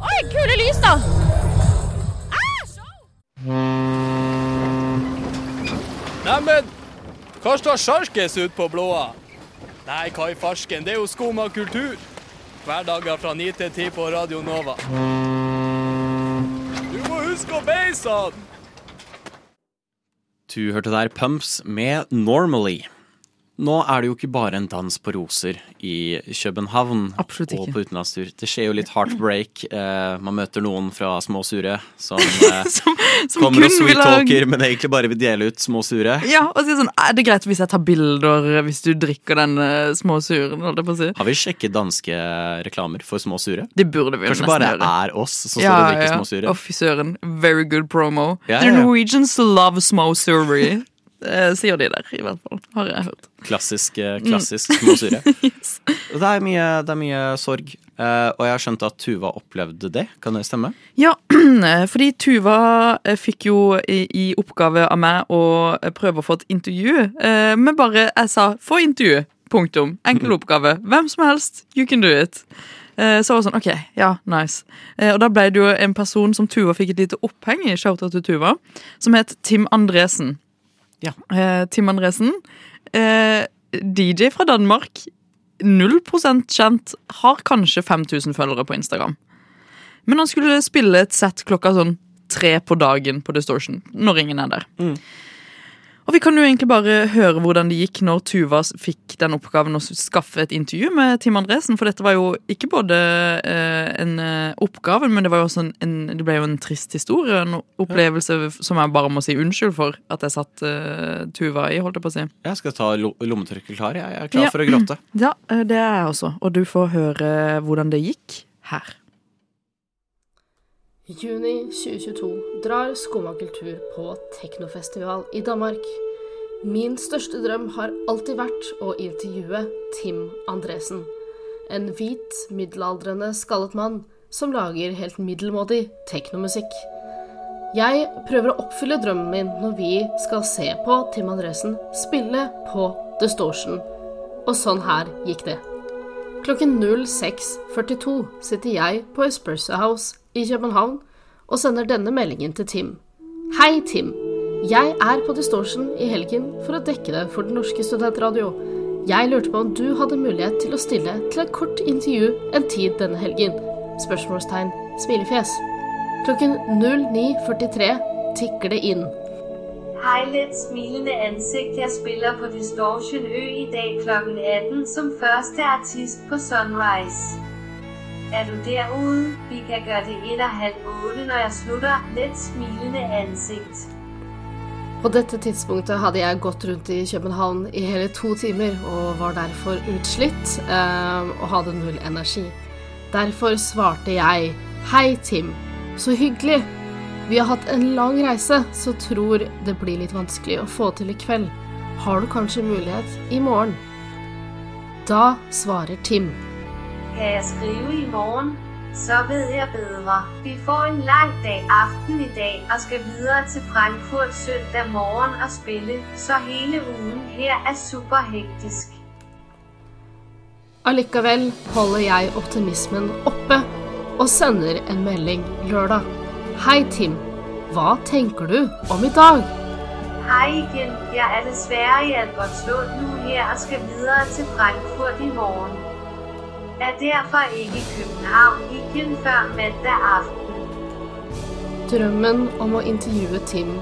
[SPEAKER 8] Oi, kule lys, da!
[SPEAKER 11] Ah,
[SPEAKER 10] Neimen, hva står sjarkes ut på blåa? Nei, hva i farsken, det er jo skum av kultur. Hverdager fra 9 til 10 på Radio Nova. Du må huske å beise han!
[SPEAKER 3] Du hørte der Pumps med Normally. Nå er det jo ikke bare en dans på roser i København
[SPEAKER 6] Absolutt
[SPEAKER 3] og
[SPEAKER 6] ikke.
[SPEAKER 3] på utenlandstur. Det skjer jo litt heartbreak. Eh, man møter noen fra Små sure som,
[SPEAKER 6] *laughs*
[SPEAKER 3] eh,
[SPEAKER 6] *laughs* Som, som
[SPEAKER 3] kommer og
[SPEAKER 6] kun vil ha-
[SPEAKER 3] sweet-talker, men egentlig bare vil dele ut Små sure.
[SPEAKER 6] Ja, og si sånn, er det greit hvis jeg tar bilder hvis du drikker den eh, små suren, holdt jeg på å si.
[SPEAKER 3] Har vi sjekket danske reklamer for Små sure?
[SPEAKER 6] Det burde vi jo
[SPEAKER 3] Kanskje
[SPEAKER 6] nesten
[SPEAKER 3] bare
[SPEAKER 6] gjøre.
[SPEAKER 3] er oss som står og drikker Små
[SPEAKER 6] Å,
[SPEAKER 3] sure?
[SPEAKER 6] fy søren. Very good promo.
[SPEAKER 3] Ja, ja,
[SPEAKER 6] The
[SPEAKER 3] ja.
[SPEAKER 6] Norwegians love små *laughs* surer. Det sier de der, i hvert fall. Har jeg hørt.
[SPEAKER 3] Klassisk, eh, klassisk Små sure. Det er mye, det er mye sorg. Eh, og jeg har skjønt at Tuva opplevde det. Kan det stemme?
[SPEAKER 6] Ja, *clears throat* fordi Tuva eh, fikk jo i, i oppgave av meg å eh, prøve å få et intervju, eh, men bare jeg sa 'få intervju'. Punktum. Enkel oppgave. Hvem som helst. You can do it. Eh, Så var det sånn, ok, ja, nice Eh, Og da ble det jo en person som Tuva fikk et lite oppheng i Shoutout til Tuva Som het Tim Andresen
[SPEAKER 3] Ja.
[SPEAKER 6] Eh, Tim Andresen eh, DJ fra Danmark 0% kjent Har kanskje 5000 følgere på Instagram men han skulle spille et sett klokka sånn tre på dagen på Distortion, når ingen er der. Og vi kan jo egentlig bare høre hvordan det gikk når Tuva s- fikk den oppgaven å s- skaffe et intervju med Tim Andresen, for dette var jo ikke både eh, en eh, oppgave, men det, var jo også en, en, det ble jo en trist historie, en opplevelse f- som jeg bare må si unnskyld for at jeg satt eh, Tuva i, holdt jeg på å si.
[SPEAKER 3] Jeg skal ta lo lommetørkleet klar. Jeg Jeg er
[SPEAKER 6] Ja.
[SPEAKER 3] klar for å gråte.
[SPEAKER 6] Ja, eh, det er jeg også, og du får høre eh, hvordan det gikk her.
[SPEAKER 12] Juni 2022 drar Skumma kultur på teknofestival i Danmark. Min største drøm har alltid vært å intervjue Tim Andresen. En hvit, middelaldrende, skallet mann som lager helt middelmådig teknomusikk. Jeg prøver å oppfylle drømmen min når vi skal se på Tim Andresen spille på Distortion. Og sånn her gikk det. Klokken 06.42 sitter jeg på Espresso House i København og sender denne meldingen til Tim. Hei, Tim. Jeg er på Distortion i helgen for å dekke deg for Den norske studentradio. Jeg lurte på om du hadde mulighet til å stille til et kort intervju en tid denne helgen. Spørsmålstegn. Smilefjes. Klokken 09.43 tikker det inn.
[SPEAKER 11] Hej let smilende ansigt, jeg spiller på Distortion Ø i dag kl. 18 som første artist på Sunrise. Er du derude? Vi kan gøre det 1 og halv 8, når jeg slutter. Let smilende ansigt.
[SPEAKER 12] På dette tidspunktet hadde jeg gått rundt i København i hele to timer og var derfor utslitt eh, og hadde null energi. Derfor svarte jeg Hei, Tim. Så hyggelig. Vi har hatt en lang reise, så tror det blir litt vanskelig å få til i kveld. Har du kanskje mulighet i morgen? Da svarer Tim.
[SPEAKER 11] Kan jeg skrive i morgen? Så ved jeg bedre. Vi får en lang dag aften i dag og skal videre til Frankfurt søndag morgen og spille, så hele ugen her er super hektisk.
[SPEAKER 12] Allikevel holder jeg optimismen oppe og sender en melding lørdag. Hei, Tim. Hva tenker du om i dag?
[SPEAKER 11] Hej igen. Jeg er desværre i Albertslund nu her og skal videre til Frankfurt i morgen. Er derfor ikke i København igen før mandag aften.
[SPEAKER 12] Drømmen om å intervjue Tim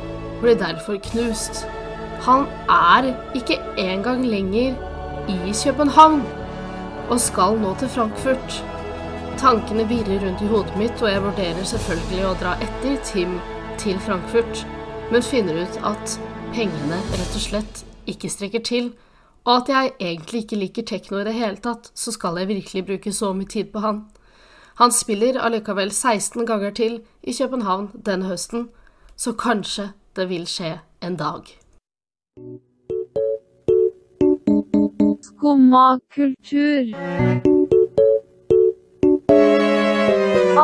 [SPEAKER 12] ble derfor knust. Han er ikke engang lenger i København og skal nå til Frankfurt. Tankene virrer rundt i hodet mitt, og jeg vurderer selvfølgelig å dra etter Tim til Frankfurt, men finner ut at pengene rett og slett ikke strekker til, og at jeg egentlig ikke liker tekno i det hele tatt, så skal jeg virkelig bruke så mye tid på han. Han spiller allikevel 16 ganger til i København denne høsten, så kanskje det vil skje en dag.
[SPEAKER 13] Skumma kultur.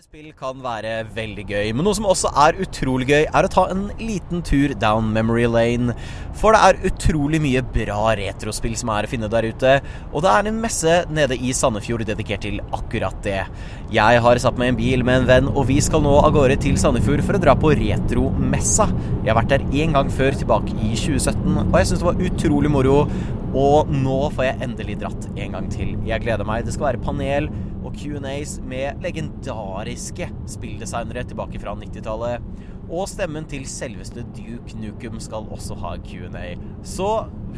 [SPEAKER 3] Spill kan være veldig gøy, men noe som også er utrolig gøy, er å ta en liten tur down memory lane. For det er utrolig mye bra retrospill som er å finne der ute, og det er en messe nede i Sandefjord dedikert til akkurat det. Jeg har satt meg i en bil med en venn, og vi skal nå av gårde til Sandefjord for å dra på retromessa. Jeg har vært der én gang før, tilbake i 2017, og jeg syns det var utrolig moro. Og nå får jeg endelig dratt en gang til. Jeg gleder meg. Det skal være panel og Q&As med legendariske spilldesignere tilbake fra 90-tallet. Og stemmen til selveste Duke Nukem skal også ha Q&A. Så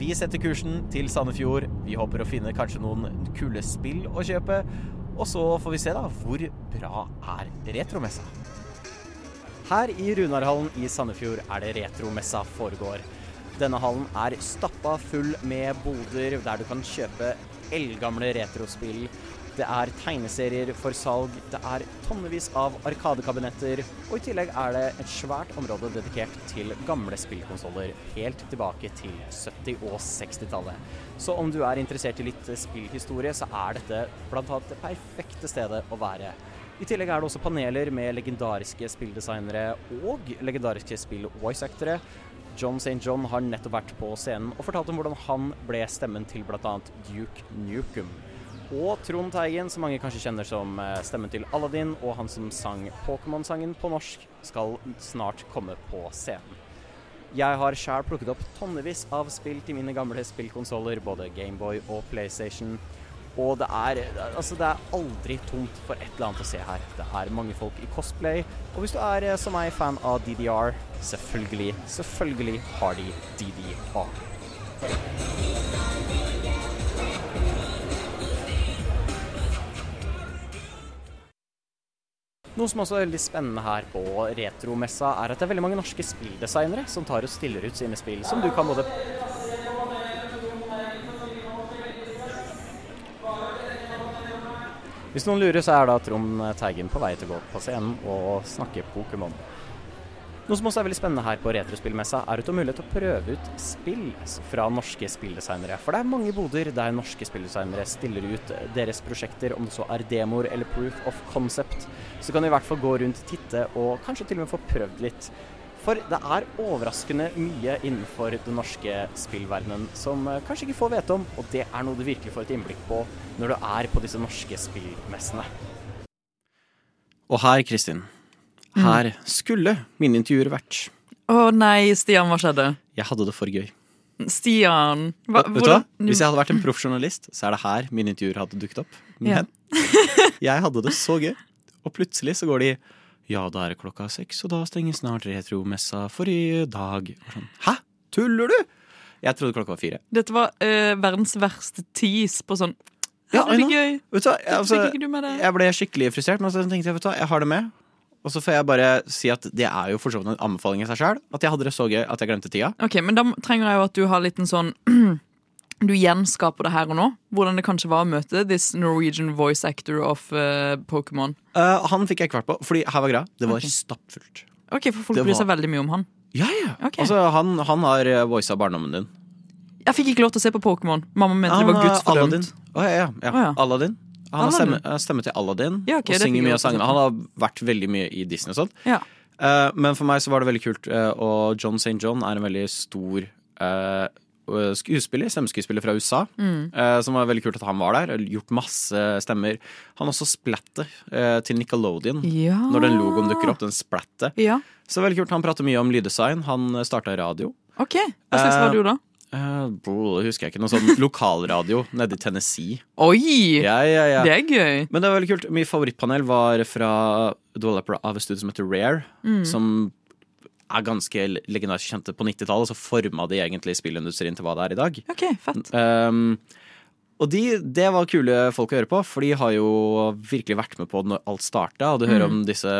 [SPEAKER 3] vi setter kursen til Sandefjord. Vi håper å finne kanskje noen kule spill å kjøpe. Og så får vi se, da, hvor bra er retromessa? Her i Runarhallen i Sandefjord er det retromessa foregår. Denne hallen er stappa full med boder der du kan kjøpe eldgamle retrospill. Det er tegneserier for salg, det er tonnevis av arkadekabinetter, og i tillegg er det et svært område dedikert til gamle spillkonsoller helt tilbake til 70- og 60-tallet. Så om du er interessert i litt spillhistorie, så er dette blant annet det perfekte stedet å være. I tillegg er det også paneler med legendariske spilldesignere og legendariske spill-voice-actere. John St. John har nettopp vært på scenen og fortalt om hvordan han ble stemmen til bl.a. Duke Nukem. Og Trond Teigen, som mange kanskje kjenner som eh, stemmen til Aladdin, og han som sang Pokémon-sangen på norsk, skal snart komme på scenen. Jeg har sjøl plukket opp tonnevis av spill til mine gamle spillkonsoller, både Gameboy og PlayStation. Og det er, altså det er aldri tomt for et eller annet å se her. Det er mange folk i cosplay. Og hvis du er eh, som meg fan av DDR, selvfølgelig, selvfølgelig har de DDR. Noe som også er veldig spennende her på retromessa, er at det er veldig mange norske spilldesignere som tar og stiller ut sine spill, som du kan både Hvis noen lurer, så er da Trond Teigen på vei til å gå på scenen og snakke Pokémon. Noe som også er veldig spennende her på Retrospillmessa, er at du har mulighet til å prøve ut spill fra norske spilldesignere. For det er mange boder der norske spilldesignere stiller ut deres prosjekter, om det så er demoer eller proof of concept. Så kan du i hvert fall gå rundt, titte og kanskje til og med få prøvd litt. For det er overraskende mye innenfor den norske spillverdenen som eh, kanskje ikke får vite om, og det er noe du virkelig får et innblikk på når du er på disse norske spillmessene. Og her, Kristin, her skulle mine intervjuer vært.
[SPEAKER 6] Å nei, Stian, hva skjedde?
[SPEAKER 3] Jeg hadde det for gøy.
[SPEAKER 6] Stian hva, Mm.
[SPEAKER 3] Vet du hva? Hvis jeg hadde vært en proffjournalist, så er det her mine intervjuer hadde dukket opp.
[SPEAKER 6] Ja. *laughs*
[SPEAKER 3] Men jeg hadde det så gøy, og plutselig så går de Ja, da er det klokka seks, og da stenger snart retromessa for i dag. Og Sånn, Hæ? Tuller du?! Jeg trodde klokka var fire.
[SPEAKER 6] Dette var eh, verdens verste tease på sånn
[SPEAKER 3] Ja,
[SPEAKER 6] «Hadde det
[SPEAKER 3] I know.
[SPEAKER 6] blir gøy.
[SPEAKER 3] Vet du hva, jeg, altså,
[SPEAKER 6] Fikk ikke du med det?
[SPEAKER 3] jeg ble skikkelig frustrert, men så tenkte jeg vet du hva, jeg har det med. Og så får jeg bare si at det er jo for så vidt en anbefaling i seg sjøl. At jeg hadde det så gøy at jeg glemte tida.
[SPEAKER 6] Ok, men da trenger jeg jo at du har litt en sånn *clears throat* Du gjenskaper det her og nå. Hvordan det kanskje var å møte this Norwegian voice actor of eh, Pokémon.
[SPEAKER 3] Eh, han fikk jeg ikke vært på, Fordi her var greia. Det var
[SPEAKER 6] Ok.
[SPEAKER 3] stappfullt.
[SPEAKER 6] Ok, for folk
[SPEAKER 3] Det
[SPEAKER 6] bryr seg
[SPEAKER 3] var-
[SPEAKER 6] veldig mye om han.
[SPEAKER 3] Ja, ja. Altså, han, han har eh, voisa barndommen din.
[SPEAKER 6] Jeg fikk ikke lov til å se på Pokémon. Mamma mente det
[SPEAKER 3] Han,
[SPEAKER 6] var
[SPEAKER 3] eh,
[SPEAKER 6] gudsfordømt.
[SPEAKER 3] Aladdin. Å, ja, ja, ja.
[SPEAKER 6] Å, ja.
[SPEAKER 3] Aladdin. Han har
[SPEAKER 6] Aladdin.
[SPEAKER 3] stemme, eh, stemme til Aladdin
[SPEAKER 6] Ja, ok,
[SPEAKER 3] og
[SPEAKER 6] det fikk
[SPEAKER 3] synger
[SPEAKER 6] jeg
[SPEAKER 3] mye av
[SPEAKER 6] også
[SPEAKER 3] sangene.
[SPEAKER 6] sett.
[SPEAKER 3] Han har vært veldig mye i Disney og sånt.
[SPEAKER 6] Ja.
[SPEAKER 3] Eh, men for meg så var det veldig kult, eh, og John St. John er en veldig stor eh, skuespiller, stemmeskuespiller fra USA.
[SPEAKER 14] Mm.
[SPEAKER 3] eh, som var veldig kult at han var der. og Gjort masse stemmer. Han også splattet eh, til Nickelodeon.
[SPEAKER 6] Ja.
[SPEAKER 3] Når den logoen dukker opp, den splattet.
[SPEAKER 6] Ja.
[SPEAKER 3] Så veldig kult. Han prater mye om lyddesign. Han starta radio.
[SPEAKER 6] Ok, Hva slags
[SPEAKER 3] Eh,
[SPEAKER 6] var du da?
[SPEAKER 3] Eh, bro, det husker jeg ikke. Noe sånn *laughs* lokalradio nede i Tennessee.
[SPEAKER 6] Oi!
[SPEAKER 3] Ja, ja, ja.
[SPEAKER 6] Det er gøy.
[SPEAKER 3] Men det var veldig kult. Mitt favorittpanel var fra developer av et studio som heter Rare.
[SPEAKER 6] Mm.
[SPEAKER 3] Som er ganske legendarisk kjente på 90-tallet, så forma de egentlig spillindustrien til hva det er i dag.
[SPEAKER 6] Ok, fett.
[SPEAKER 3] Um, og de, det var kule folk å høre på, for de har jo virkelig vært med på når alt starta. Og du hører
[SPEAKER 6] Mm.
[SPEAKER 3] om disse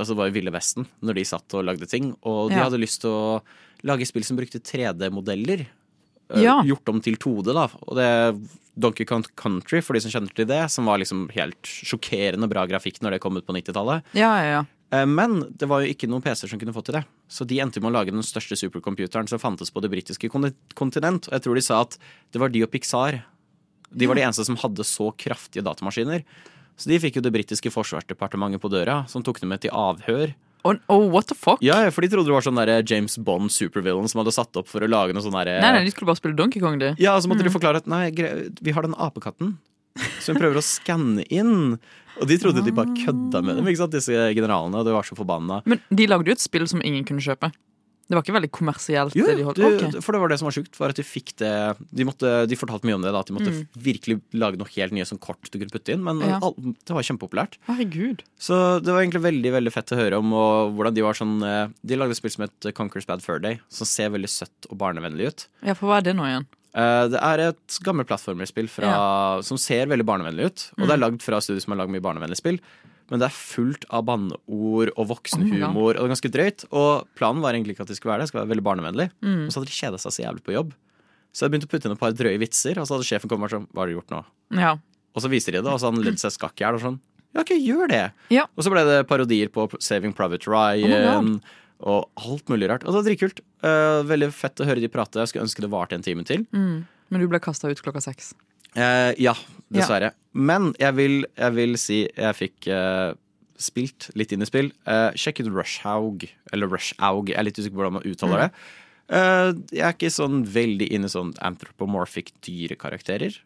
[SPEAKER 3] Altså det var jo Ville Vesten når de satt og lagde ting. Og de
[SPEAKER 6] Ja.
[SPEAKER 3] hadde lyst til å lage spill som brukte 3D-modeller. eh,
[SPEAKER 6] Ja.
[SPEAKER 3] Gjort om til 2D, da. Og det Donkey Kong Country, for de som kjenner til det, som var liksom helt sjokkerende bra grafikk når det kom ut på 90-tallet.
[SPEAKER 6] Ja, ja, ja.
[SPEAKER 3] Eh, Men det var jo ikke noen PC-er som kunne få til det. Så de endte med å lage den største supercomputeren som fantes på det britiske kon- kontinent. Og jeg tror de sa at det var de og Pixar. De var de eneste som hadde så kraftige datamaskiner. Så de fikk jo det britiske forsvarsdepartementet på døra, som tok dem med til avhør.
[SPEAKER 6] Oh, what the fuck?
[SPEAKER 3] Ja, ja, for de trodde det var sånn der James Bond supervillain som hadde satt opp for å lage noe sånn derre
[SPEAKER 6] Nei, nei, de Mm. skulle bare spille Donkey Kong, de.
[SPEAKER 3] Ja, så måtte de forklare at nei, gre- vi har den apekatten som prøver å skanne inn. Og de trodde de
[SPEAKER 6] Ah.
[SPEAKER 3] bare kødda med dem, ikke sant, disse generalene. Og de var så forbanna.
[SPEAKER 6] Men de lagde jo et spill som ingen kunne kjøpe. Det var ikke veldig kommersielt.
[SPEAKER 3] Jo,
[SPEAKER 6] det de
[SPEAKER 3] jo,
[SPEAKER 6] holdt.
[SPEAKER 3] det,
[SPEAKER 6] Ok.
[SPEAKER 3] For det var det som var sjukt, var at de fikk det De, måtte, de fortalte mye om det, da, at de måtte
[SPEAKER 6] Mm.
[SPEAKER 3] virkelig lage noe helt nye sånn kort du kunne putte inn. Men
[SPEAKER 6] Ja.
[SPEAKER 3] all, det var kjempepopulært.
[SPEAKER 6] Herregud.
[SPEAKER 3] Så det var egentlig veldig veldig fett å høre om og hvordan de var sånn eh, De lagde et spill som het Conquer's Bad Fur Day, som ser veldig søtt og barnevennlig ut.
[SPEAKER 6] Ja, for hva er det nå igjen?
[SPEAKER 3] Eh, Det er et gammelt plattformerspill fra, som ser veldig barnevennlig ut. Og det
[SPEAKER 6] Mm.
[SPEAKER 3] er lagd fra studier som har lagd mye barnevennlige spill. Men det er fullt av banneord og
[SPEAKER 6] Oh my
[SPEAKER 3] voksenhumor. og det er ganske drøyt. Og planen var egentlig ikke at det skulle være det. Det skulle være veldig barnevennlig.
[SPEAKER 6] Mm.
[SPEAKER 3] Og så hadde de kjeda seg så jævlig på jobb. Så jeg begynte å putte inn et par drøye vitser, og så hadde sjefen kommet og vært sånn Hva har du gjort nå?
[SPEAKER 6] Ja.
[SPEAKER 3] Og så viser de det, og så har han ledd seg skakk i hjel og sånn. Ja, OK, gjør det.
[SPEAKER 6] Ja.
[SPEAKER 3] Og så ble det parodier på Saving Private
[SPEAKER 6] Oh
[SPEAKER 3] Ryan
[SPEAKER 6] my
[SPEAKER 3] og alt mulig rart. Og det var dritkult. Eh, veldig fett å høre de prate. Jeg skulle ønske det varte en time til.
[SPEAKER 6] Mm. Men du ble kasta ut klokka seks.
[SPEAKER 3] Eh, ja, dessverre. Men jeg vil, jeg vil si jeg fikk eh, spilt litt innespill. Uh, sjekk ut Rushhaug, eller Rushaug, jeg er litt usikker på hvordan man
[SPEAKER 6] Mm.
[SPEAKER 3] uttaler det. Eh, jeg er ikke sånn veldig inne i sånn anthropomorphic dyrekarakterer.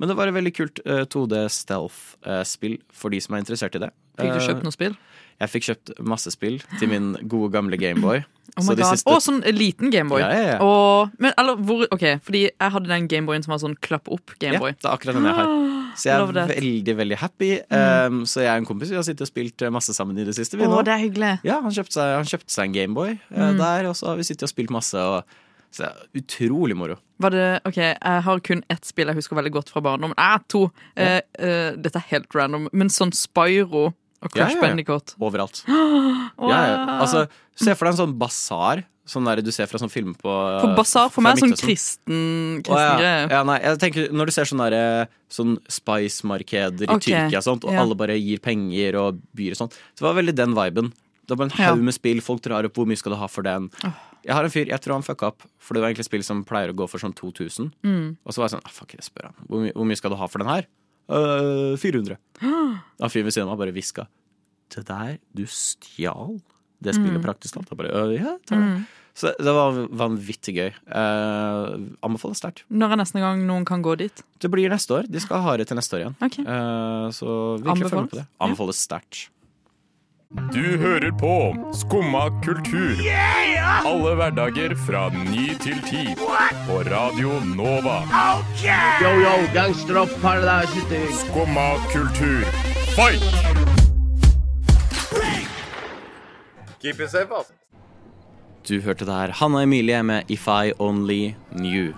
[SPEAKER 3] Men det var et veldig kult eh, 2D stealth-spill eh, for de som er interessert i det.
[SPEAKER 6] Fikk du
[SPEAKER 3] Eh,
[SPEAKER 6] kjøpt noe spill?
[SPEAKER 3] Jeg fikk kjøpt masse spill til min gode, gamle Gameboy.
[SPEAKER 6] *laughs* Oh my
[SPEAKER 3] de
[SPEAKER 6] god. Å, sånn liten Gameboy.
[SPEAKER 3] Ja, ja, ja.
[SPEAKER 6] Og, men, eller, hvor, ok, fordi jeg hadde den Gameboyen som var sånn klapp opp Gameboy.
[SPEAKER 3] Ja, det er akkurat den jeg
[SPEAKER 6] *gasps*
[SPEAKER 3] har. Så jeg
[SPEAKER 6] Love
[SPEAKER 3] er
[SPEAKER 6] that.
[SPEAKER 3] veldig veldig happy. Um, så jeg og en kompis vi har sittet og spilt eh, masse sammen i det siste. Vi
[SPEAKER 6] Mm. Å,
[SPEAKER 3] nå.
[SPEAKER 6] det er hyggelig.
[SPEAKER 3] Ja, han kjøpte seg, han kjøpte seg en Gameboy eh,
[SPEAKER 6] Mm.
[SPEAKER 3] der, og så har vi sittet og spilt masse. Og, så det er utrolig moro.
[SPEAKER 6] Var det, ok, Jeg har kun ett spill jeg husker veldig godt fra barndommen. Eh, to! Eh, eh, dette er helt random, men sånn Spyro og Crash
[SPEAKER 3] Ja, ja, ja.
[SPEAKER 6] Bandicoot.
[SPEAKER 3] Overalt.
[SPEAKER 6] *gasps* Wow.
[SPEAKER 3] Ja, ja. Altså, se for deg en sånn basar. Sånn der du ser fra sånne filmer på
[SPEAKER 6] For basar for
[SPEAKER 3] fra
[SPEAKER 6] meg er sånn
[SPEAKER 3] Midtøsten.
[SPEAKER 6] kristen, kristen
[SPEAKER 3] Å, ja.
[SPEAKER 6] greie.
[SPEAKER 3] Ja, nei, jeg tenker, når du ser sånne, der, eh, sånn Spice-markeder i
[SPEAKER 6] Ok,
[SPEAKER 3] Tyrkia og sånt, og
[SPEAKER 6] ja.
[SPEAKER 3] alle bare gir penger og byr og sånt, så det var veldig den viben. Det var bare en
[SPEAKER 6] Ja.
[SPEAKER 3] haug med spill, folk drar opp hvor mye skal du ha for den.
[SPEAKER 6] Åh.
[SPEAKER 3] Jeg har en fyr, jeg tror han fucka opp, for det var egentlig spill som pleier å gå for sånn 2000.
[SPEAKER 6] Mm.
[SPEAKER 3] Og så var jeg sånn, ah, fuck, jeg spør han, hvor, my hvor mye skal du ha for den her? «Øh,
[SPEAKER 6] *gasps*
[SPEAKER 3] 400. Da fyren ved siden av meg bare hviska. Det der, du stjal det spillet
[SPEAKER 6] Mm.
[SPEAKER 3] praktisk talt. Jeg bare, «Øh, ja, jeg tar det.
[SPEAKER 6] Mm.
[SPEAKER 3] Så det var vanvittig gøy. Eh, anbefaler sterkt.
[SPEAKER 6] Når er neste gang noen kan gå dit?
[SPEAKER 3] Det blir neste år. De skal ha det til neste år igjen.
[SPEAKER 6] Ok.
[SPEAKER 3] Eh, så virkelig følg med på det.
[SPEAKER 6] Anbefales?
[SPEAKER 3] Anbefales sterkt.
[SPEAKER 14] Du hører på Skumma kultur. Alle hverdager fra ny til ti. På Radio Nova.
[SPEAKER 15] Yo, yo, gangsterrock, paradise.
[SPEAKER 14] Skumma kultur. Fight!
[SPEAKER 16] Keep it safe, ass.
[SPEAKER 3] Du hørte der Hanna Emilie med If I Only Knew.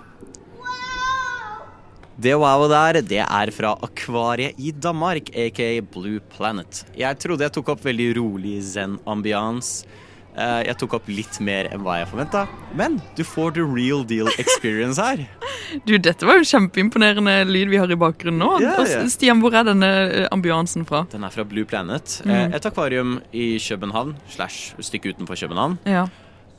[SPEAKER 3] Det wowet der, det er fra Akvariet i Danmark, aka Blue Planet. Jeg trodde jeg tok opp veldig rolig zen-ambians. Eh, Jeg tok opp litt mer enn hva jeg forventa, men du får the real deal experience her.
[SPEAKER 6] Du, Dette var jo kjempeimponerende lyd vi har i bakgrunnen nå.
[SPEAKER 3] Ja,
[SPEAKER 6] Og
[SPEAKER 3] ja.
[SPEAKER 6] S- Stian, hvor er denne eh, ambiansen fra?
[SPEAKER 3] Den er fra Blue Planet.
[SPEAKER 6] Mm.
[SPEAKER 3] eh, Et akvarium i København slash et stykke utenfor København.
[SPEAKER 6] Ja.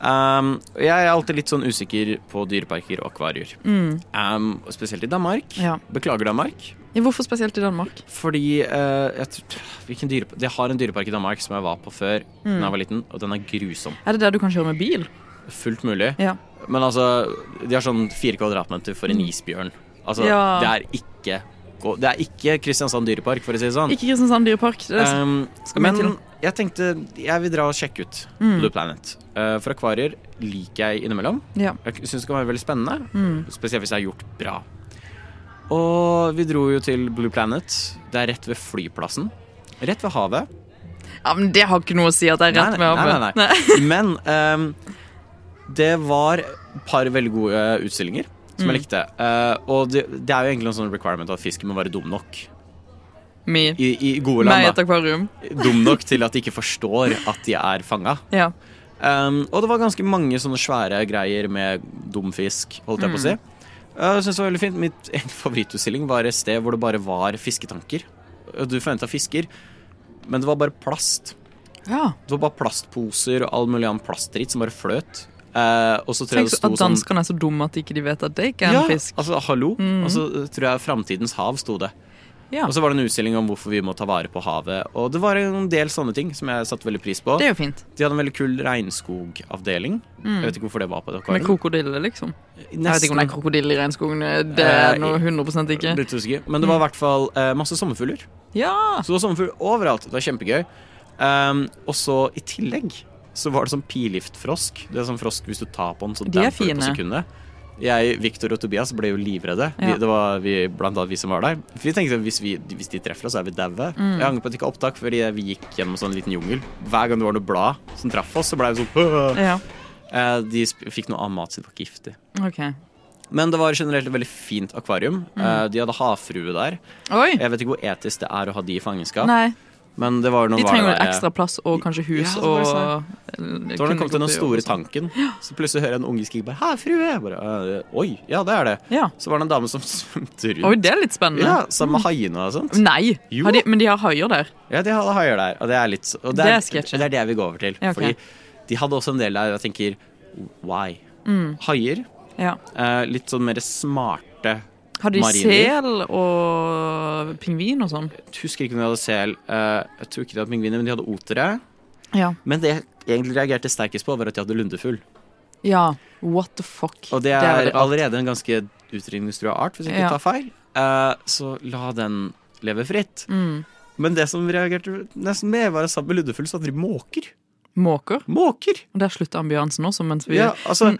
[SPEAKER 3] Um, og jeg er alltid litt sånn usikker på dyreparker og akvarier.
[SPEAKER 6] Mm.
[SPEAKER 3] Um, og spesielt i Danmark.
[SPEAKER 6] Ja.
[SPEAKER 3] Beklager, Danmark.
[SPEAKER 6] Ja, Hvorfor spesielt i Danmark?
[SPEAKER 3] Fordi eh, jeg, tr- hvilken dyrep- Jeg har en dyrepark i Danmark som jeg var på før
[SPEAKER 6] Mm.
[SPEAKER 3] da jeg var liten, og den er grusom.
[SPEAKER 6] Er det der du kan kjøre med bil?
[SPEAKER 3] Fullt mulig.
[SPEAKER 6] Ja.
[SPEAKER 3] Men altså, de har sånn fire kvadratmeter for en isbjørn. Altså,
[SPEAKER 6] Mm. Ja.
[SPEAKER 3] det er ikke Det er ikke Kristiansand dyrepark, for å si det sånn.
[SPEAKER 6] Ikke Kristiansand dyrepark. Det er-
[SPEAKER 3] Um,
[SPEAKER 6] skal vi
[SPEAKER 3] men
[SPEAKER 6] til.
[SPEAKER 3] jeg tenkte jeg vil dra og sjekke ut
[SPEAKER 6] Mm.
[SPEAKER 3] Blue Planet. Eh, for akvarier liker jeg innimellom.
[SPEAKER 6] Ja.
[SPEAKER 3] Jeg syns det kan være veldig spennende.
[SPEAKER 6] Mm.
[SPEAKER 3] Spesielt hvis det er gjort bra. Og vi dro jo til Blue Planet. Det er rett ved flyplassen. Rett ved havet.
[SPEAKER 6] Ja, men Det har ikke noe å si at det er rett med
[SPEAKER 3] nei, nei,
[SPEAKER 6] havet. *laughs*
[SPEAKER 3] nei. Men ehm, det var et par veldig gode eh, utstillinger som jeg
[SPEAKER 6] Mm.
[SPEAKER 3] likte. Eh, og det, det er jo egentlig en sånn requirement at fisken må være dum nok.
[SPEAKER 6] Me.
[SPEAKER 3] I, i gode
[SPEAKER 6] Meg
[SPEAKER 3] land,
[SPEAKER 6] i et
[SPEAKER 3] da.
[SPEAKER 6] akvarium.
[SPEAKER 3] Dum nok til at de ikke forstår at de er fanga.
[SPEAKER 6] Ja.
[SPEAKER 3] Um, og det var ganske mange sånne svære greier med dum fisk, holdt jeg på å si.
[SPEAKER 6] Mm.
[SPEAKER 3] Uh, synes det var veldig fint. Mitt *laughs* egen favorittutstilling var et sted hvor det bare var fisketanker. Og Du forventa fisker, men det var bare plast.
[SPEAKER 6] Ja.
[SPEAKER 3] Det var bare plastposer og all mulig annen plastdritt som bare fløt. Uh, og så tror jeg
[SPEAKER 6] Tenk
[SPEAKER 3] det
[SPEAKER 6] så-
[SPEAKER 3] sto
[SPEAKER 6] at
[SPEAKER 3] sånn
[SPEAKER 6] danskene er så dumme at de ikke de vet at det ikke er
[SPEAKER 3] ja,
[SPEAKER 6] en fisk.
[SPEAKER 3] altså hallo.
[SPEAKER 6] Mm.
[SPEAKER 3] Og så tror jeg Framtidens hav sto det.
[SPEAKER 6] Ja.
[SPEAKER 3] Og så var det en utstilling om hvorfor vi må ta vare på havet. Og det var en del sånne ting som jeg satte veldig pris på.
[SPEAKER 6] Det er jo fint.
[SPEAKER 3] De hadde en veldig kul regnskogavdeling.
[SPEAKER 6] Mm.
[SPEAKER 3] Jeg vet ikke hvorfor det var på det
[SPEAKER 6] Med krokodiller, liksom. Jeg vet ikke om det er krokodiller i regnskogen. Det
[SPEAKER 3] Eh,
[SPEAKER 6] er noe 100 ikke.
[SPEAKER 3] Litt usikker. Men det var i hvert fall eh, masse sommerfugler. Så det var sommerfugl overalt. Det var kjempegøy. Um, og så i tillegg så var det sånn pilgiftfrosk. Det er sånn frosk hvis du tar på den, så
[SPEAKER 6] De er
[SPEAKER 3] damper det på
[SPEAKER 6] fine.
[SPEAKER 3] sekundet. Jeg, Victor og Tobias ble jo livredde.
[SPEAKER 6] Ja.
[SPEAKER 3] Vi, det var vi, blant annet vi som var der. For vi tenkte at hvis, vi, hvis de treffer oss, så er vi daue.
[SPEAKER 6] Mm.
[SPEAKER 3] Jeg angrer på at det ikke er opptak, fordi vi gikk gjennom sånn liten jungel. Hver gang det var noe blad som traff oss, så ble vi sånn
[SPEAKER 6] Ja.
[SPEAKER 3] Eh, De sp- fikk noe annen mat, så de var ikke giftig.
[SPEAKER 6] Ok.
[SPEAKER 3] Men det var generelt et veldig fint akvarium.
[SPEAKER 6] Mm.
[SPEAKER 3] Eh, De hadde havfrue der.
[SPEAKER 6] Oi.
[SPEAKER 3] Jeg vet ikke hvor etisk det er å ha de i fangenskap.
[SPEAKER 6] Nei.
[SPEAKER 3] Men det var noen
[SPEAKER 6] De trenger jo
[SPEAKER 3] var der-
[SPEAKER 6] ekstra plass og kanskje
[SPEAKER 3] Ja,
[SPEAKER 6] hus
[SPEAKER 3] det var
[SPEAKER 6] og
[SPEAKER 3] sånn.
[SPEAKER 6] eller
[SPEAKER 3] Det var da
[SPEAKER 6] kunne
[SPEAKER 3] det kom til
[SPEAKER 6] gått
[SPEAKER 3] den
[SPEAKER 6] i-
[SPEAKER 3] store tanken. Så plutselig hører jeg en unge skrike bare 'Hæ, frue?' Jeg bare, «Eh, Oi, ja, det er det. Så var det en dame som svømte rundt.
[SPEAKER 6] Oi, Mm. det er litt spennende.
[SPEAKER 3] Ja, Sammen med haiene og sånt.
[SPEAKER 6] Nei,
[SPEAKER 3] Jo.
[SPEAKER 6] har de, men de har haier der.
[SPEAKER 3] Ja, de hadde haier der, og det er litt og
[SPEAKER 6] Det er
[SPEAKER 3] sketsjy. Det er det vi går over til.
[SPEAKER 6] Ja, ok.
[SPEAKER 3] Fordi de hadde også en del der jeg tenker why?
[SPEAKER 6] Mm.
[SPEAKER 3] Haier.
[SPEAKER 6] Ja.
[SPEAKER 3] eh, litt sånn mer smarte
[SPEAKER 6] Har de
[SPEAKER 3] mariner.
[SPEAKER 6] sel og pingvin og sånn?
[SPEAKER 3] Jeg husker ikke om de hadde sel. eh, jeg tror ikke de hadde pingviner, men de hadde otere.
[SPEAKER 6] Ja.
[SPEAKER 3] Men det jeg egentlig reagerte sterkest på, var at de hadde lundefugl.
[SPEAKER 6] ja. What the fuck.
[SPEAKER 3] Og det
[SPEAKER 6] er
[SPEAKER 3] er
[SPEAKER 6] veldig rart.
[SPEAKER 3] allerede en ganske utrydningstrua art, hvis jeg ikke
[SPEAKER 6] Ja.
[SPEAKER 3] tar feil. Eh, så la den leve fritt.
[SPEAKER 6] Mm.
[SPEAKER 3] Men det som reagerte nesten med, var at sammen med lundefugl så hadde de måker.
[SPEAKER 6] Måker.
[SPEAKER 3] Måker.
[SPEAKER 6] Og der slutta ambulansen også, mens vi
[SPEAKER 3] Ja, altså,
[SPEAKER 6] Men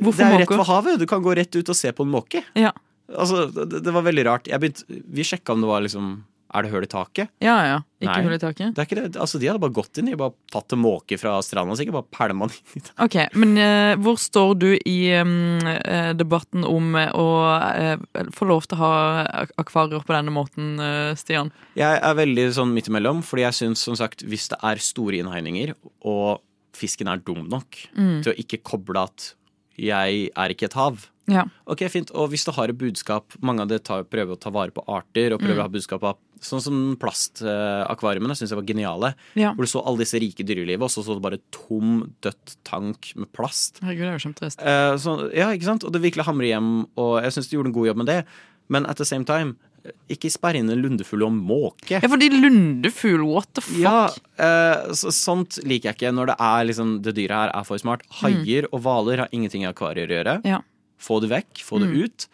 [SPEAKER 6] Mm. Hvorfor
[SPEAKER 3] det er jo
[SPEAKER 6] måker?
[SPEAKER 3] rett ved havet. Du kan gå rett ut og se på en måke.
[SPEAKER 6] Ja.
[SPEAKER 3] Altså, det, det var veldig rart. Jeg begynte, vi sjekka om det var liksom Er det hull i taket?
[SPEAKER 6] Ja, ja. Ikke
[SPEAKER 3] Nei.
[SPEAKER 6] hull i taket.
[SPEAKER 3] Det er ikke det. Altså, de hadde bare gått inn. De bare tatt en måke fra stranda og sikkert bare pælma den inn i
[SPEAKER 6] Ok, Men eh, hvor står du i em, eh, debatten om eh, å eh, få lov til å ha ak- akvarier på denne måten, eh, Stian?
[SPEAKER 3] Jeg er veldig sånn midt imellom, fordi jeg syns som sagt hvis det er store innhegninger, og fisken er dum nok
[SPEAKER 6] Mm.
[SPEAKER 3] til å ikke koble at jeg er ikke et hav
[SPEAKER 6] Ja.
[SPEAKER 3] Ok, fint. Og hvis det har et budskap Mange av det tar, prøver å ta vare på arter og prøver
[SPEAKER 6] Mm.
[SPEAKER 3] å ha budskap av Sånn som plastakvariumene syns jeg var geniale.
[SPEAKER 6] Ja.
[SPEAKER 3] Hvor du så alle disse rike dyrelivet, og så så du bare tom, dødt tank med plast.
[SPEAKER 6] Herregud, det er jo kjempetrist.
[SPEAKER 3] Eh, så, ja, ikke sant? Og det virkelig hamrer hjem, og jeg syns du gjorde en god jobb med det. Men at the same time, ikke sperre inn en lundefugl og en måke.
[SPEAKER 6] Ja, fordi lundefugl, what the fuck?
[SPEAKER 3] Ja, eh, så, sånt liker jeg ikke når det er liksom Det dyret her er for smart. Haier og hvaler har ingenting i akvarier å gjøre.
[SPEAKER 6] Mm. Ja.
[SPEAKER 3] Få det vekk, få det
[SPEAKER 6] Mm.
[SPEAKER 3] ut.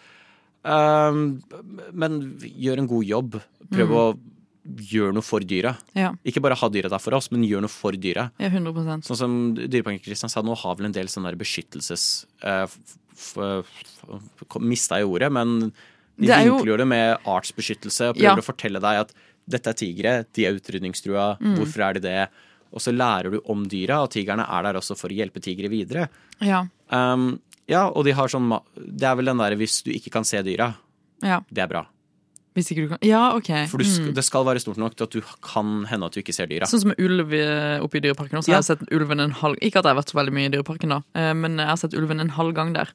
[SPEAKER 3] Um, men gjør en god jobb.
[SPEAKER 6] Mm.
[SPEAKER 3] Prøv å gjøre noe for dyra.
[SPEAKER 6] Ja.
[SPEAKER 3] Ikke bare ha dyra der for oss, men gjør noe for dyra.
[SPEAKER 6] Ja, 100
[SPEAKER 3] Sånn som Dyreparken Kristiansand nå har vel en del sånn der beskyttelses... Uh, Mista jeg ordet, men de
[SPEAKER 6] Det er jo-
[SPEAKER 3] vinkler jo det med artsbeskyttelse og prøver
[SPEAKER 6] Ja.
[SPEAKER 3] å fortelle deg at dette er tigre, de er utrydningstrua,
[SPEAKER 6] Mm.
[SPEAKER 3] hvorfor er de det? Og så lærer du om dyra, og tigrene er der også for å hjelpe tigre videre.
[SPEAKER 6] Ja.
[SPEAKER 3] Um, ja, og de har sånn ma- Det er vel den derre hvis du ikke kan se dyra,
[SPEAKER 6] ja.
[SPEAKER 3] det er bra.
[SPEAKER 6] Hvis ikke du kan Ja, OK.
[SPEAKER 3] For du, sk-
[SPEAKER 6] Mm.
[SPEAKER 3] det skal være stort nok til at du kan hende at du ikke ser dyra.
[SPEAKER 6] Sånn som med ulv i- oppe i Dyreparken. Også.
[SPEAKER 3] Ja.
[SPEAKER 6] Jeg har sett ulven en halv Ikke at jeg har vært så veldig mye i Dyreparken, da, eh, men jeg har sett ulven en halv gang der.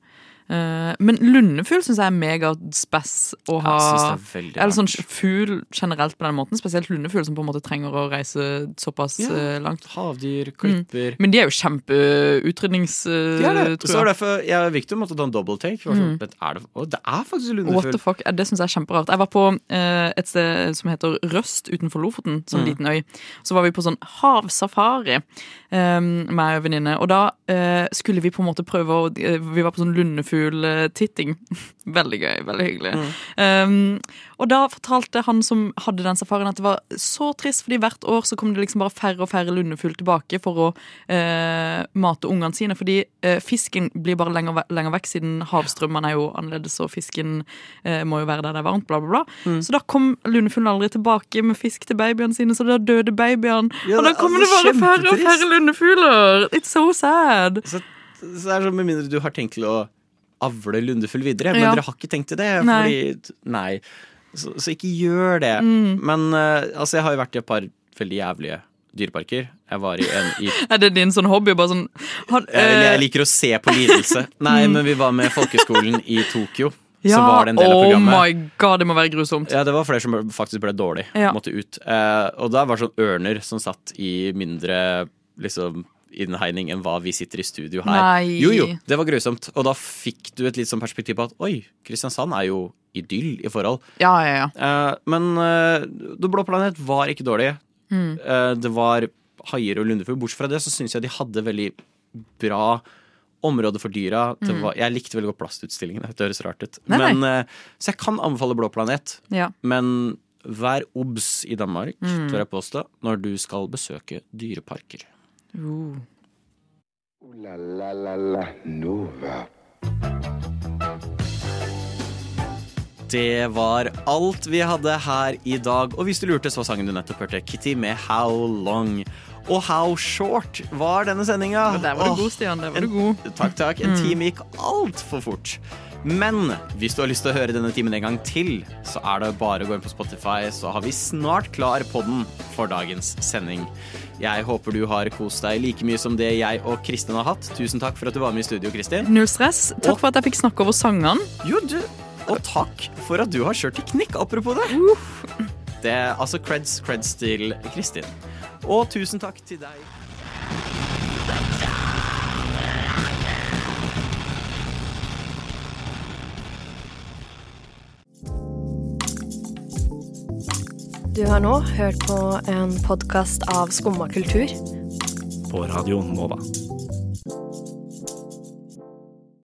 [SPEAKER 6] Eh, Men lundefugl syns jeg er megaspess å ha.
[SPEAKER 3] Jeg synes det er veldig
[SPEAKER 6] Eller sånn fugl generelt på den måten. Spesielt lundefugl, som på en måte trenger å reise såpass
[SPEAKER 3] Ja,
[SPEAKER 6] eh, langt.
[SPEAKER 3] Havdyr, klipper
[SPEAKER 6] Men de er jo eh, kjempeutrydnings...
[SPEAKER 3] Det er det. Så det var
[SPEAKER 6] jeg.
[SPEAKER 3] derfor jeg og Victor måtte ta en double take. for sånn,
[SPEAKER 6] Mm.
[SPEAKER 3] "Dette er det, å, det er faktisk
[SPEAKER 6] What the
[SPEAKER 3] lundefugl.
[SPEAKER 6] fuck? Eh, Det syns jeg er kjemperart. Jeg var på eh, et sted som heter Røst utenfor Lofoten, som
[SPEAKER 3] Mm.
[SPEAKER 6] liten øy. Så var vi på sånn havsafari eh, med en venninne. Og da eh, skulle vi på en måte prøve å eh, Vi var på sånn lundefugltitting. *laughs* veldig gøy. Veldig hyggelig. Um, og da fortalte han som hadde den safarien at det var så trist, fordi hvert år så kom det liksom bare færre og færre lundefugl tilbake for å eh, mate ungene sine, fordi eh, fisken blir bare lenger, ve- lenger vekk, siden havstrømmene er jo annerledes, og fisken eh, må jo være der det er varmt, bla, bla, bla.
[SPEAKER 3] Mm.
[SPEAKER 6] Så da kom lundefuglen aldri tilbake med fisk til babyene sine, så da døde babyene.
[SPEAKER 3] Ja,
[SPEAKER 6] og da
[SPEAKER 3] det er
[SPEAKER 6] kommer det
[SPEAKER 3] altså
[SPEAKER 6] bare færre og
[SPEAKER 3] kjempetrist.
[SPEAKER 6] færre lundefugler! It's so sad.
[SPEAKER 3] Så, så det er sånn, Med mindre du har tenkt til å avle lundefugl videre. Men
[SPEAKER 6] Ja.
[SPEAKER 3] dere har ikke tenkt til det.
[SPEAKER 6] Nei.
[SPEAKER 3] Fordi, nei. Så, så ikke gjør det.
[SPEAKER 6] Mm.
[SPEAKER 3] Men eh, altså, jeg har jo vært i et par veldig jævlige dyreparker. Jeg var i en
[SPEAKER 6] *laughs*
[SPEAKER 3] i
[SPEAKER 6] Er det din sånn hobby? Bare sånn han,
[SPEAKER 3] Jeg,
[SPEAKER 6] eh, Mm.
[SPEAKER 3] jeg liker å se på lidelse. Nei, men vi var med folkeskolen i Tokyo.
[SPEAKER 6] Ja,
[SPEAKER 3] så var det en del av
[SPEAKER 6] oh
[SPEAKER 3] programmet.
[SPEAKER 6] my god, det må være grusomt.
[SPEAKER 3] Ja, det var flere som ble- faktisk ble dårlig.
[SPEAKER 6] Ja.
[SPEAKER 3] Måtte ut. Eh, og der var det sånn ørner som satt i mindre liksom innhegning enn hva vi sitter i studio her.
[SPEAKER 6] Nei.
[SPEAKER 3] Jo, jo, det var grusomt. Og da fikk du et litt sånn perspektiv på at oi, Kristiansand er jo idyll i forhold.
[SPEAKER 6] Ja, ja, ja.
[SPEAKER 3] Eh, men eh, The Blå planet var ikke dårlig.
[SPEAKER 6] Mm.
[SPEAKER 3] Eh, det var haier og lundefugl. Bortsett fra det så syns jeg de hadde veldig bra område for dyra. Det
[SPEAKER 6] Mm.
[SPEAKER 3] var, jeg likte veldig godt plastutstillingene. Det høres rart ut.
[SPEAKER 6] Nei, nei.
[SPEAKER 3] Men, eh, så jeg kan anbefale Blå planet.
[SPEAKER 6] Ja.
[SPEAKER 3] Men vær obs i Danmark,
[SPEAKER 6] Mm.
[SPEAKER 3] tør jeg påstå, når du skal besøke dyreparker.
[SPEAKER 6] Uh.
[SPEAKER 2] La-la-la Nova.
[SPEAKER 3] Det var alt vi hadde her i dag. Og hvis du lurte, så var sangen du nettopp hørte, Kitty med How Long. Og how short var denne sendinga?
[SPEAKER 6] Men der var du god, Stian. Der var du god.
[SPEAKER 3] Takk, takk. En
[SPEAKER 6] Mm.
[SPEAKER 3] time gikk altfor fort. Men hvis du har lyst til å høre denne timen en gang til, så er det bare å gå inn på Spotify, så har vi snart klar podden for dagens sending. Jeg håper du har kost deg like mye som det jeg og Kristin har hatt. Tusen takk for at du var med i studio, Kristin.
[SPEAKER 6] Null stress. Takk for at jeg fikk snakke over sangene.
[SPEAKER 3] Jo, du. Og takk for at du har kjørt teknikk, apropos det. Det er altså creds, creds til Kristin. Og tusen takk til deg.
[SPEAKER 17] Du har nå hørt på en podkast av Skumma kultur.
[SPEAKER 9] På Radio Nova.